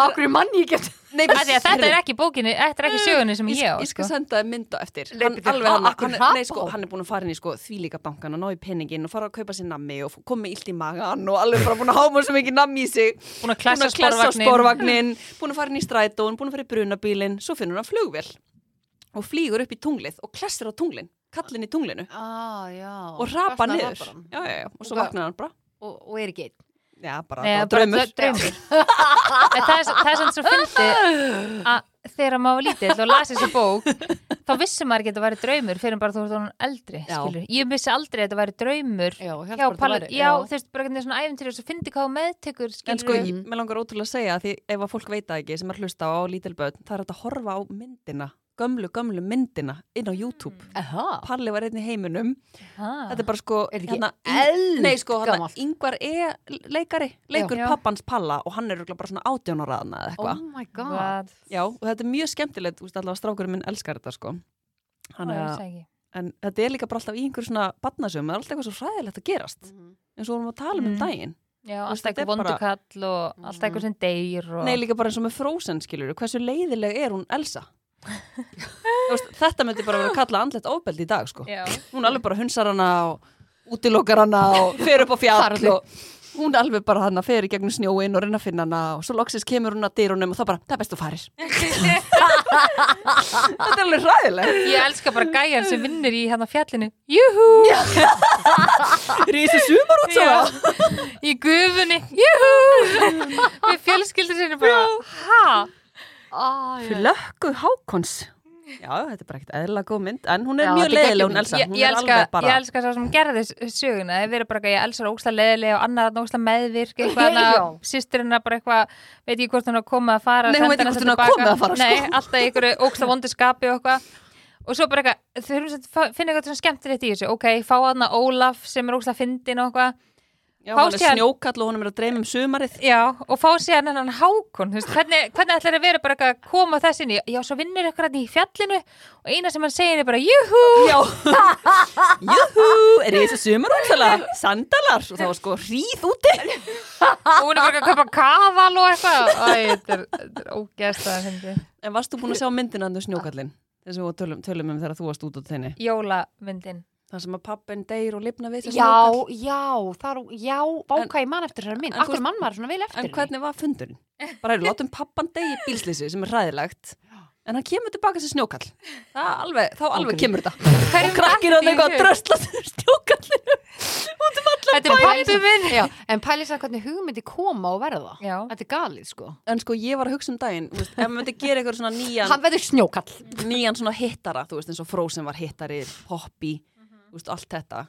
Akkur er manni ég get. Nei, Af því að Þetta er ekki bókinni, þetta er ekki sögunni sem Ég, ég á ég skal sko. senda þér mynd á eftir Nei, hann, bíddu, alveg, ha- hann, akkur hann, hrapa nei, sko, á? hann er búin að fara inn í sko, þvílíka bankan og ná í peningin og fara að kaupa sér nammi og komið illt í magan og alveg bara búin að háma svo mikið nammi í sig Búin að klessa sporvagninn. sporvagnin búin að fara inn í strætón, búin að fara í brunabílin svo finnur hann flugvél og flýgur upp í tunglið og klessir á tunglin kallin í tunglinu Ah, já. og rapa Þarna niður rapar hann. já, já, já, og svo Og- vaknar hann bara Og, og er ekki einn. já, bara, Nei, bara bara draumur dra- draumur. En það er s- það er svona svo fyndi að þegar maður var lítill og lasi þessu bók þá vissi maður ekki að þetta væri draumur fyrir en bara þú ert honum eldri Já. skilur. ég vissi aldrei að þetta væri draumur Já, já, hélt bara að það palla, væri- já, já. þú veist bara hvernig svona æfintýri og svo fyndi hvað þú meðtekur En skilur sko, ég- mér langar ótrúlega að segja að því ef að fólk veit það ekki sem er að hlusta á lítilböðn, það er hægt að horfa á myndina, gömlu, gömlu myndina inn á YouTube. Mm. Aha. Palli var einn í heiminum. Ah. Þetta er bara sko, Er ekki Ing- nei sko, hérna, eldgamalt? yngvar er leikari, leikur Já. pappans Palla og hann er örugglega bara svona átjónaraðna eða Oh eitthvað. my god. bara Já, og þetta er mjög skemmtilegt, þú veist allavega strákurinn minn elskar þetta sko. Þannig að, en þetta er líka bara alltaf í einhverju svona barnasögum, það er alltaf eitthvað svo hræðilegt að gerast eins og vorum að tala um um Mm. daginn Já, Þú veist, alltaf þetta er eitthvað vondukall og alltaf eitthvað sem deyr og... Nei, líka bara eins og með Frozen, skilur hversu leiðileg er hún Elsa? Þú veist, þetta myndi bara vera að kalla andlegt ofbeldi í dag, sko. Já, Hún alveg bara hunsar hana og útilokar hana og fer upp á fjall Farðu. og hún alveg bara hana fer í gegnum snjóin og reyna að finna hana og svo loksins kemur hún að dyrunum og þá bara, það er best þú farir. þetta er alveg ræðileg. ég elska bara gæjan sem vinnur í hérna fjallinu Júhú, Rísi sumar út svo. í gufunni Júhú Við fjölskyldur sinni bara Hæ? Lökku Hákons. Já, þetta er bara ekkert eðla góð mynd, en hún er Já, mjög þetta er leiðileg, hún geggjum. Elsa. Ég, Hún ég, er elska, alveg bara- ég elska svo sem gerði s- söguna Ég verið bara eitthvað, ég elsa er ógsta leðilega og annar að ógsta meðvirk eitthvað hana, Já. sýstirinn að bara eitthvað veit ekki hvort hún er að koma að fara Nei, hún veit senda ekki hana hvort hún er að tilbaka. koma að fara, sko. Nei, alltaf í einhverju ógsta vondu skapi og eitthvað og svo bara eitthvað, þau erum að finna eitthvað svona skemmtilegt í þessu ok, fá hana Ólaf sem er ógsta fyndin og eitthvað Já, hún er Fást ég- snjókall og hún er að dreyma um sumarið. Já, og fá síðan hennan hákon, þú veist, hvernig, hvernig ætlar að vera bara eitthvað að koma þess inn í, já, svo vinnur eitthvað í fjallinu og eina sem hann segir er bara, júhú, Já Júhú, er ég þessi sumarútsala? Sandalar og það var sko hríð úti og hún er bara eitthvað að kaupa kaval og eitthvað, æ, þetta er, þetta er ógæst að hindi. En varst þú búin að sjá myndina andur snjókallin? Þessi við tölum, tölum um þegar þú varst út á þinni Jólamyndin, Það sem að pappin deyr og lifna við þessi Já, snjókall já, þar, já, báka ég mann eftir þessari mynd. en Akkur hvort- mann maður svona vel eftir En henni? hvernig var fundurinn? Bara erum, látum pappan deyja í bílslýsi sem er ræðilegt En hann kemur tilbaka sem snjókall Það alveg, þá alveg kemur þetta Hverjum Og krakkir datt hann í eitthvað að hug? drösla snjókallinu Út um allan þetta er pappi minn. Já, en pælið sér hvernig hugmyndi koma og verða. Já. Þetta er galið, sko. En sko, ég var að hugsa um daginn þú veist, Ef maður myndi gera eitthvað svona nýjan Hann verður snjókall. nýjan svona hittara, þú veist, eins og Frozen var hittari, Poppy, þú veist, allt þetta.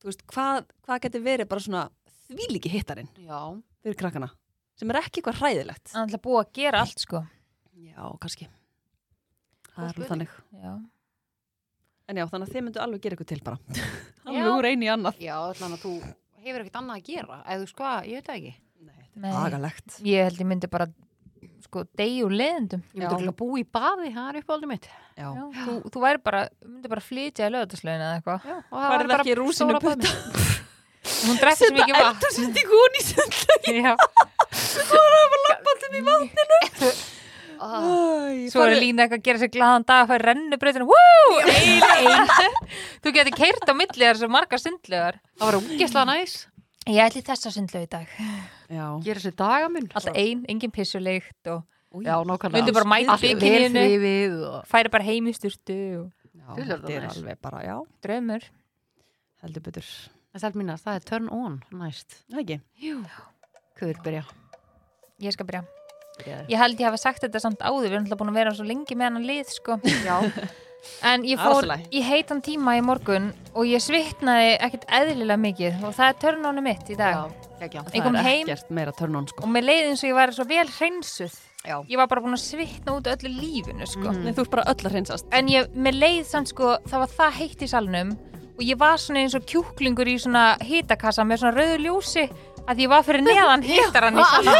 Þú veist, hvað, hvað getur verið bara svona þvílíki hittarinn Já. fyrir krakkana, sem er ekki eitthvað hræðilegt? Hann ætla búið að gera allt, sko. Já, kannski. Það Góð er alveg spurning. þannig. Já, En já, þannig að þið myndu alveg gera eitthvað til bara. Já. Alveg úr einu í annað. Já, þannig að þú hefur ekkert annað að gera. Eða þú sko, ég veit það ekki. nei, Agalegt. ég held ég myndi bara, sko, degi úr leðendum. Ég myndi ekki að búa í baði, það er uppáldið mitt. Já. Já, þú, þú væri bara, myndi bara flytja í löðarslaun eða eitthvað. Já, og Færðu væri bara ekki í rúsínu stóra baðið mitt. Hún drekkur sem ekki vatn. eldur sem þið hún í sundlegin. Já. Ah, Svo er lína eitthvað að gera sér glaðan dag að færa rennubrautina, wúúú, ein, ein. Þú getur keirt á milli þar svo margar sundlögar. Það var ógeðslega næs. Ég ætli þessa sundlög í dag. Já. Gera sér dagamun. Alltaf ein, engin pissuleikt og Já, nákvæmlega. myndi bara mæta Allt vel byggininu, þrifið og... færi bara heim í sturtu og Já, Þú lærðu þetta er það næst. alveg bara, já, draumur. heldur betur. En sælt mínast, það er turn on, næst. Það ekki. Jú. Hvað vil byrja? Ég skal byrja. Byrjaðu. Ég held ég hafa sagt þetta samt áður, við erum alltaf búin að vera svo lengi með hann lið, sko. Já. En ég Það er fór allt í lagi. í heitan tíma í morgun og ég svitnaði ekkert eðlilega mikið og það er törnónu mitt í dag. Já, ekki Ég kom Það er heim ekkert meira törn on, sko. og mér leiði eins og ég væri svo vel hreinsuð. Já. Ég var bara búin að svitna út öllu lífinu, sko. Nei, þú ert bara öll að hreinsast. En ég, mér leið samt, sko, það var það heitt í salnum og ég var svona eins og kjúklingur í svona hitakassa með svona rauðu ljósi að ég var fyrir neðan hitaran í salnum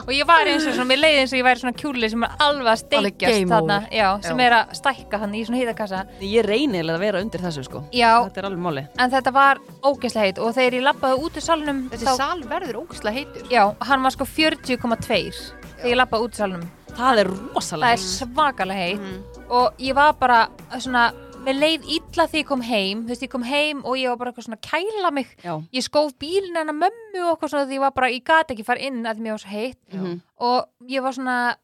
og ég var eins og svona, mér leiði eins og ég væri svona kjúli sem er alveg að Alveg game steikjast þarna, over. já, sem Já. er að stækka hann í svona hitakassa. Ég reyni eiginlega að vera undir þessu, sko. Já, Þetta er alveg máli. en þetta var ógeðslega heitt og þegar ég labbaði út úr salnum Þessi sal verður ógeðslega heitur. já, hann var sko 40,2 þegar ég labbaði út úr salnum Það er það rosalega Mhm. er svakalega heitt og ég var bara eh, svona með leið illa því ég kom heim þú veist, ég kom heim og ég var bara eitthvað svona að kæla mig Já. ég skóf bílinn hennar mömmu og eitthvað svona því ég var bara, ég gat ekki fara inn að því mér var svo heitt Mhm. og ég var svona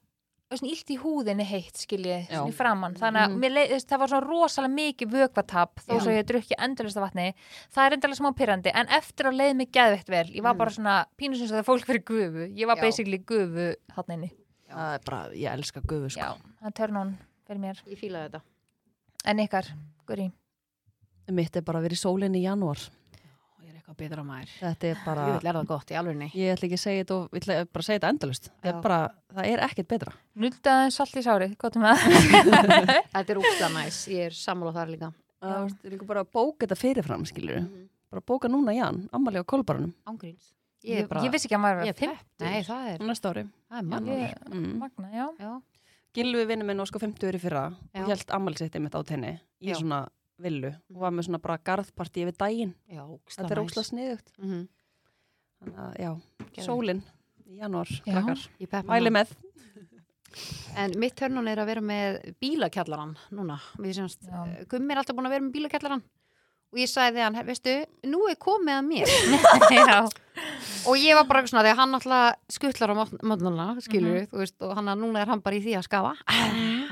svona illt í húðinni heitt skiljið, Já. svona í framann þannig að Mhm. mm. leið, þú veist, það var svona rosalega mikið vökvatap þó Já. svo ég drukki endalista vatni það er endalega smá pyrrandi en eftir að leið mig geðveitt vel ég Mhm. var bara svona pínusins að það fólk fyrir gufu ég var Já. basically gufu þarna inni Það er bara, ég elska gufu sko. Já, það törn on fyrir mér. Ég fílaði þetta. En ykkar, Guri. Mitt er bara að vera í sólinni í janúar. Ég er eitthvað betra maður. Þetta er bara, Ég vil erða gott í alvegni. ég ætla ekki að segja þetta og ég ætla bara að segja þetta endalust. Það er Já. bara, það er ekkert betra. Nuldaði salt í sárið, gott um það. Þetta er ógeðslega næs. Ég er sammála þar líka. Það er líka bara að bóka þetta fyrirfram, skilur Bara bóka núna Jan, ammali á kolbarunum. Ángríns. Ég, ég vissi ekki að maður Ég var er fimm. Nei, það er, Næsta ári. það er fimm. mannur. Magna, já. Já. Gilvi vinnu Mm. minn og sko 50 í fyrra Já. og held ammælisitt einmitt á tenni í Já. svona villu og var með svona bara garðparti yfir daginn Já, ógsta þetta er næs. ósla sniðugt Mhm. þannig að hérna, já, Geðveikt. sólin í janúar, Já. krakkar, Ég peppa mæli hana. með En mitt törnun er að vera með bílakjallaran núna. Við semst, Já. eh, Gummi er alltaf búin að vera með bílakjallaran og ég sagði við hann, "Her- veistu, nú er komið að mér. já, og ég var bara eitthvað svona, þegar hann alltaf skutlar á mótnuna, skilur þú veist, og hann að núna er hann bara í því að skafa.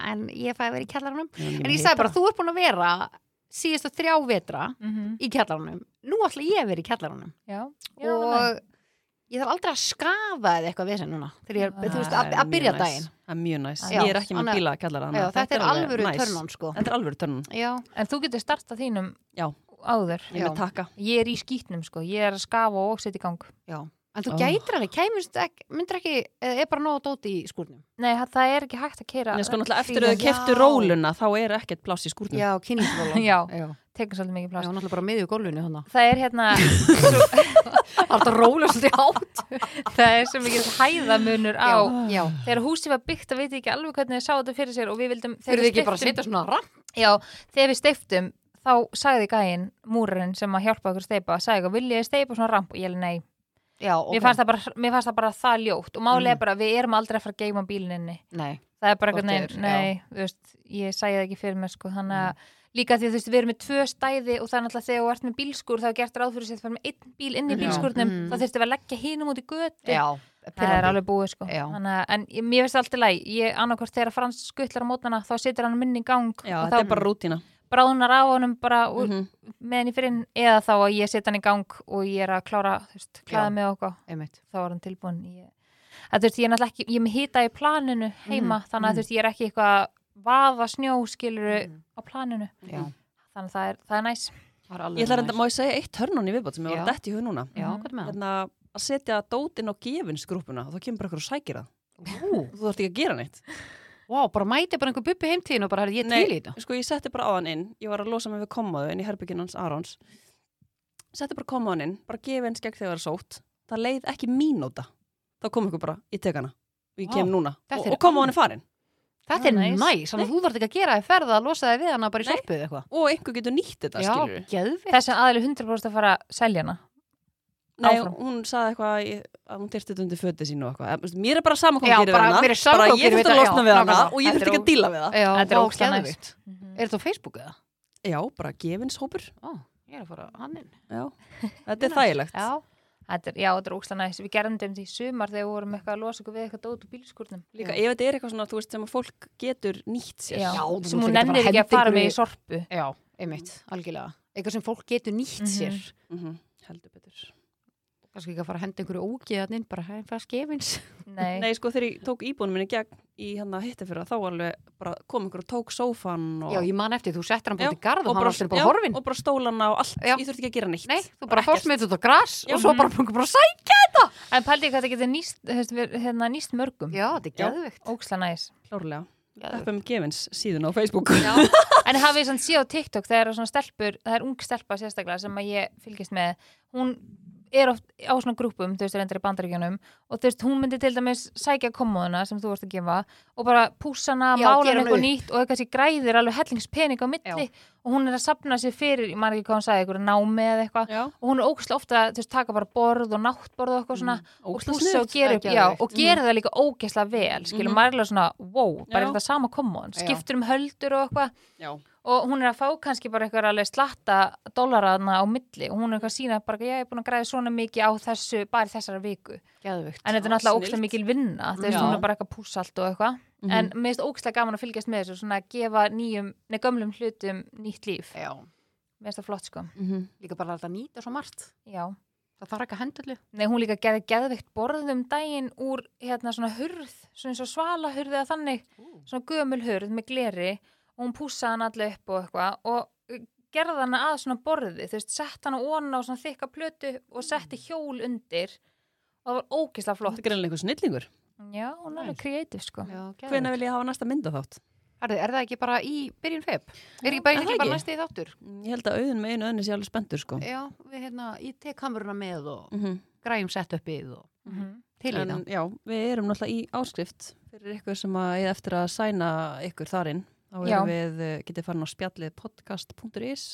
en ég fæði að vera í kjallaranum. En ég sagði bara, þú ert búin að vera síðustu þrjá vetra mhm, í kjallaranum. Nú ætla ég að vera í kjallaranum. já, já nei. og ég þarf aldrei að skafa eða eitthvað við sem núna. Þegar ég, Nei, þú veist, Það er að, að mjög byrja næs. daginn. það er mjög næs, Já. ég er ekki Þannig með að- bíla kallar Já, þetta, er alveg alvöru næs. törnun, sko. þetta er alvöru törnun, Já, en þú getur startað þínum Já. áður ég er Já. með taka ég er í skýtnum sko, ég er að skafa og setja í gang já. En þú Ó. gætir alveg, kæmist ekki, myndir ekki, eða er bara nóg að dóti í skúrnum. nei, það- það er ekki hægt að keira en sko náttúrulega eftir að þau Já. keftu róluna þá er ekkert pláss í skúrnum Já, kynningsvóla. Já. já. tekur svolítið mikið Já, pláss náttúrulega bara miðju gólfinu hann. það er hérna Það er þetta róla svolítið átt. það er svo mikið hæðamunur á já. þegar húsið var byggt það veit ég ekki alveg hvernig þið sá þetta fyrir sér og við vildum Þeir þegar eru við ekki bara að steyptum- setja svona rann. já, þegar við steiftum þá sagði gæinn, múrurinn sem að hjálpa okkur að steipa sagði eitthvað, vil ég steipa svona ramp og ég held nei, Já, ok. mér, fannst það bara, mér fannst það bara það ljótt og málið Mm. er bara að við erum aldrei að fara að geima bílininni Nei. það er bara Hvort eitthvað eð neginn, er, Mm. nei, þú veist ég sagði það ekki fyrir mér sko, þannig að líka því þú veist, við erum með tvö stæði og það er náttúrulega þegar þú ert með bílskur þá er gert ráð fyrir sér að fara með einn bíl inn í Já. bílskurnum Mm. þá þurftum við að leggja hinum út í götu Já. það er alveg búið sko Já. þannig, að- en ég- mér finnst alltaf læg, ég annarkvort þegar Frans skuttlar á mótnana þá setur hann minni í gang Já, og þetta er þá bara rútina bráðnar á honum bara mm Mhm. meðan í fyrinn eða þá að ég set hann í gang og ég er að klára, þú veist, Já. klæða með okkur Einmitt. þá var hann tilbúin ég, að, þú veist, ég er náttúrulega ekki, ég er með hita í planinu heima, Mhm. þannig að þú veist, ég er ekki eitthvað að vaða snjó skiluru á planinu Mhm. Mm. Já. þannig að það er, það er næs Það er alveg ég ætla reynda, næs. má ég segja eitt törnun í viðbót sem ég var Já. dætt í hug núna Já, hvað er með það? hérna, að setja dótinn á gefinsgrúpuna og þá kemur bara ykkur og sækir það og þú þarft ekki að gera neitt Vá, bara mæti bara einhver bubbi heimtíðin og bara, herri, ég er til í þetta. sko ég setti bara á hann inn ég var að losa mig við komaðu inn í herbyggin hans Arons setti bara komaðan inn bara gefins gegn þegar það er sótt það leið ekki mínúta þá kom ykkur bara, ég tek hana og ég Vá, kem núna þetta og, er og komaðan er farin Þetta er Já, næs. næs, þannig að þú þarf ekki að gera þér ferða að losa þig við hana bara í Ah, Nei. sjoppu eða eitthvað. og einhver getur nýtt þetta skilur geðvikt. þess að aðli 100% að fara að selja hana Nei, áfram. hún saði eitthvað að ég- að hún dyrti undir fötið sín og eitthvað Eða, þú veist, mér er bara sama hvað Já, hún gerir við bara- hana mér er sama hvað hún ég gerir þurfti við að þetta, losna já, við hana nákvæmlega. og ég þurfti ekki Þetta er að díla við það Já, Þetta er vá, ógeðslega næs. geðveikt. Er þetta á Facebooku eða? Já, bara gefinshópur Ó, ég er að fara hann inn. Já, þetta er þægilegt Já, þetta er, já, þetta er ókslega næs við gerðum þetta um því í sumar þegar við vorum eitthvað að losa okkur við eitthvað dót úr bílskurnum Líka ef þetta er eitthvað svona, þú veist, sem að fólk getur nýtt sér já, Já, þú sem mátt hún ekki bara nennir ekki að henda fara ykkur með í- í sorpu já, einmitt, algjörlega. Eitthvað sem fólk getur nýtt sér. Mhm, Heldur betur Kannski ekki að fara að henda einhverju ógeðaninn, bara hæðin fæða skefins. nei, Nei, sko, þegar ég tók íbúinu minni gegn í hann að hitta fyrir þá alveg bara kom ykkur og tók sófan og, Já, ég man eftir, þú settir hann Já, búin til garð og hann var alltaf bara já, horfin. og bara stólana og allt, Já. ég þurfti ekki að gera neitt Nei, þú bara Bara fórst með þetta út á gras Já. og svo bara búin bara að sækja. en pældi ég hvað þetta getur nýst, þú veist, við- hérna, nýst mörgum Já, þetta er Já. geðvikt. ókslega næs Klárlega, Geðveikt. öppum gefins síðuna á Facebook En hafið þið svona síðan á TikTok, það eru svona stelpur, það er ung stelpa sérstaklega sem að ég fylgist með, hún er oft á svona grúpum, þú veist, reyndar í bandaríkjunum og þú veist, hún myndi til dæmis sækja kommóðuna sem þú varst að gefa og bara pússa hana, Já, mála hana gera hana eitthvað upp. nýtt og eitthvað sem græðir alveg hellingspening á milli og hún er að sapna sér fyrir, ég maður ekki hvað hún sagði, eitthvað námi eða eitthvað Já, og hún er ógæslega ofta, þú veist, taka bara borð og náttborð og eitthvað svona og Mm, ógeðslega pússa og sniðugt. gera upp, Það er já, geðveikt. og gera það líka ógæslega vel, skilur, Mm. Mhm. maður er alveg svona, wow, bara Já. er þetta sama kommón, Já. skiptur um höldur og eitthvað Já. og hún er að fá kannski bara eitthvað alveg slatta dólaraðna á milli og hún er eitthvað að sína bara ég er búin að græða svona mikið á þessu bara í þessara viku en Geðvikt. þetta er Já, náttúrulega snillt. ókslega mikil vinna þú veist Já. hún er bara eitthvað pússa allt og eitthvað Mhm. en mér finnst ókslega gaman að fylgjast með þessu svona að gefa nýjum, nei gömlum hlutum nýtt líf, Já, mér finnst það flott sko Mhm. líka bara að þetta nýta svo margt. já, Það þarf ekki að henda allir. nei hún líka gerði geðveikt borðum daginn úr hérna svona hurð, svona eins og svalahurð eða þannig svona gömul hurð með gleri og hún pússaði hann allir upp og eitthvað og uh, gerði hann að svona borði þú veist, sett hann á onna á svona þykka plötu og setti hjól undir og það var ógislega Mm. Þetta flott er greinlega einhver snillingur já, hún er alveg kreatív sko Já, geðvikt. Hvenær vil ég hafa næsta mynda þátt? Herðu, er það ekki bara í byrjun feb? Er ekki bara, Er er ekki það bara ekki? næsti í þáttur? Ég held að auðin með einu öðni sé alveg spenntur sko Já, við hérna, ég tek kameruna með og Mhm. græjum setupið og Mhm. til í það en já, við erum náttúrulega í áskrift fyrir ykkur sem að eigi eftir að sæna ykkur þarinn þá Já. erum við, eh, getið farin á spjallið podcast.is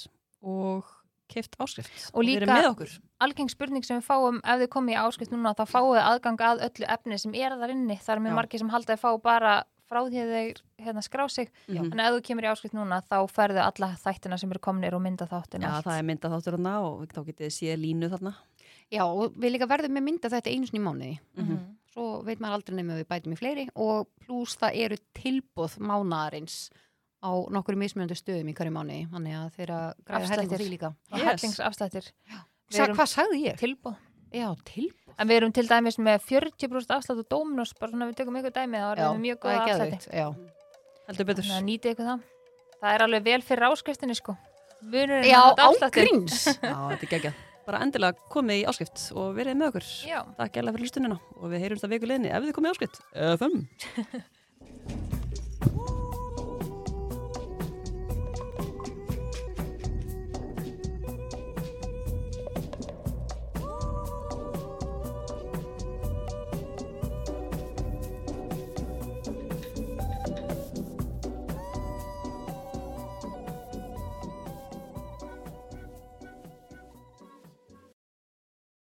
og keift áskrift Og verið líka- með okkur algeng spurning sem við fáum ef þið komið í áskrift núna þá fáið þið aðgang að öllu efni sem er þar inni, það er mjög Já. margir sem halda að fá bara frá því að þeir hérna, skrá sig Já. en ef þú kemur í áskrift núna þá ferðu alla þættina sem eru komnir og mynda þáttin Já, það er myndað þáttur þarna og þá getið þið séð línu þarna já, og við líka verðum með mynda þetta einu sinni í mánuði Mhm. svo veit maður aldrei nefnum við bætum í fleiri og pluss það eru tilbúð mánaðarins á nokkur mismjöndu stöðum í hverju mánuði þannig að þeirra græða Afslættir. hellingur í líka og Yes. hellingsafstættir Við Sa, erum- hvað sagði ég? tilbúð já, tilbúð en við erum til dæmis með 40% afslætt og Dominos, bara svona við tökum ykkur dæmi þá Já, erum við mjög það er góða afslætti geðveikt, já. heldur betur þannig að nýtið ykkur það það er alveg vel fyrir áskriftinni sko Munurinn já, á afslættir. ágríns Já, þetta er geggjað. Bara endilega komið í áskrift og verið með okkur. Já. Takk gæla fyrir hlustunina og við heyrumst að viku leðinni ef þið komið í áskrift. FM.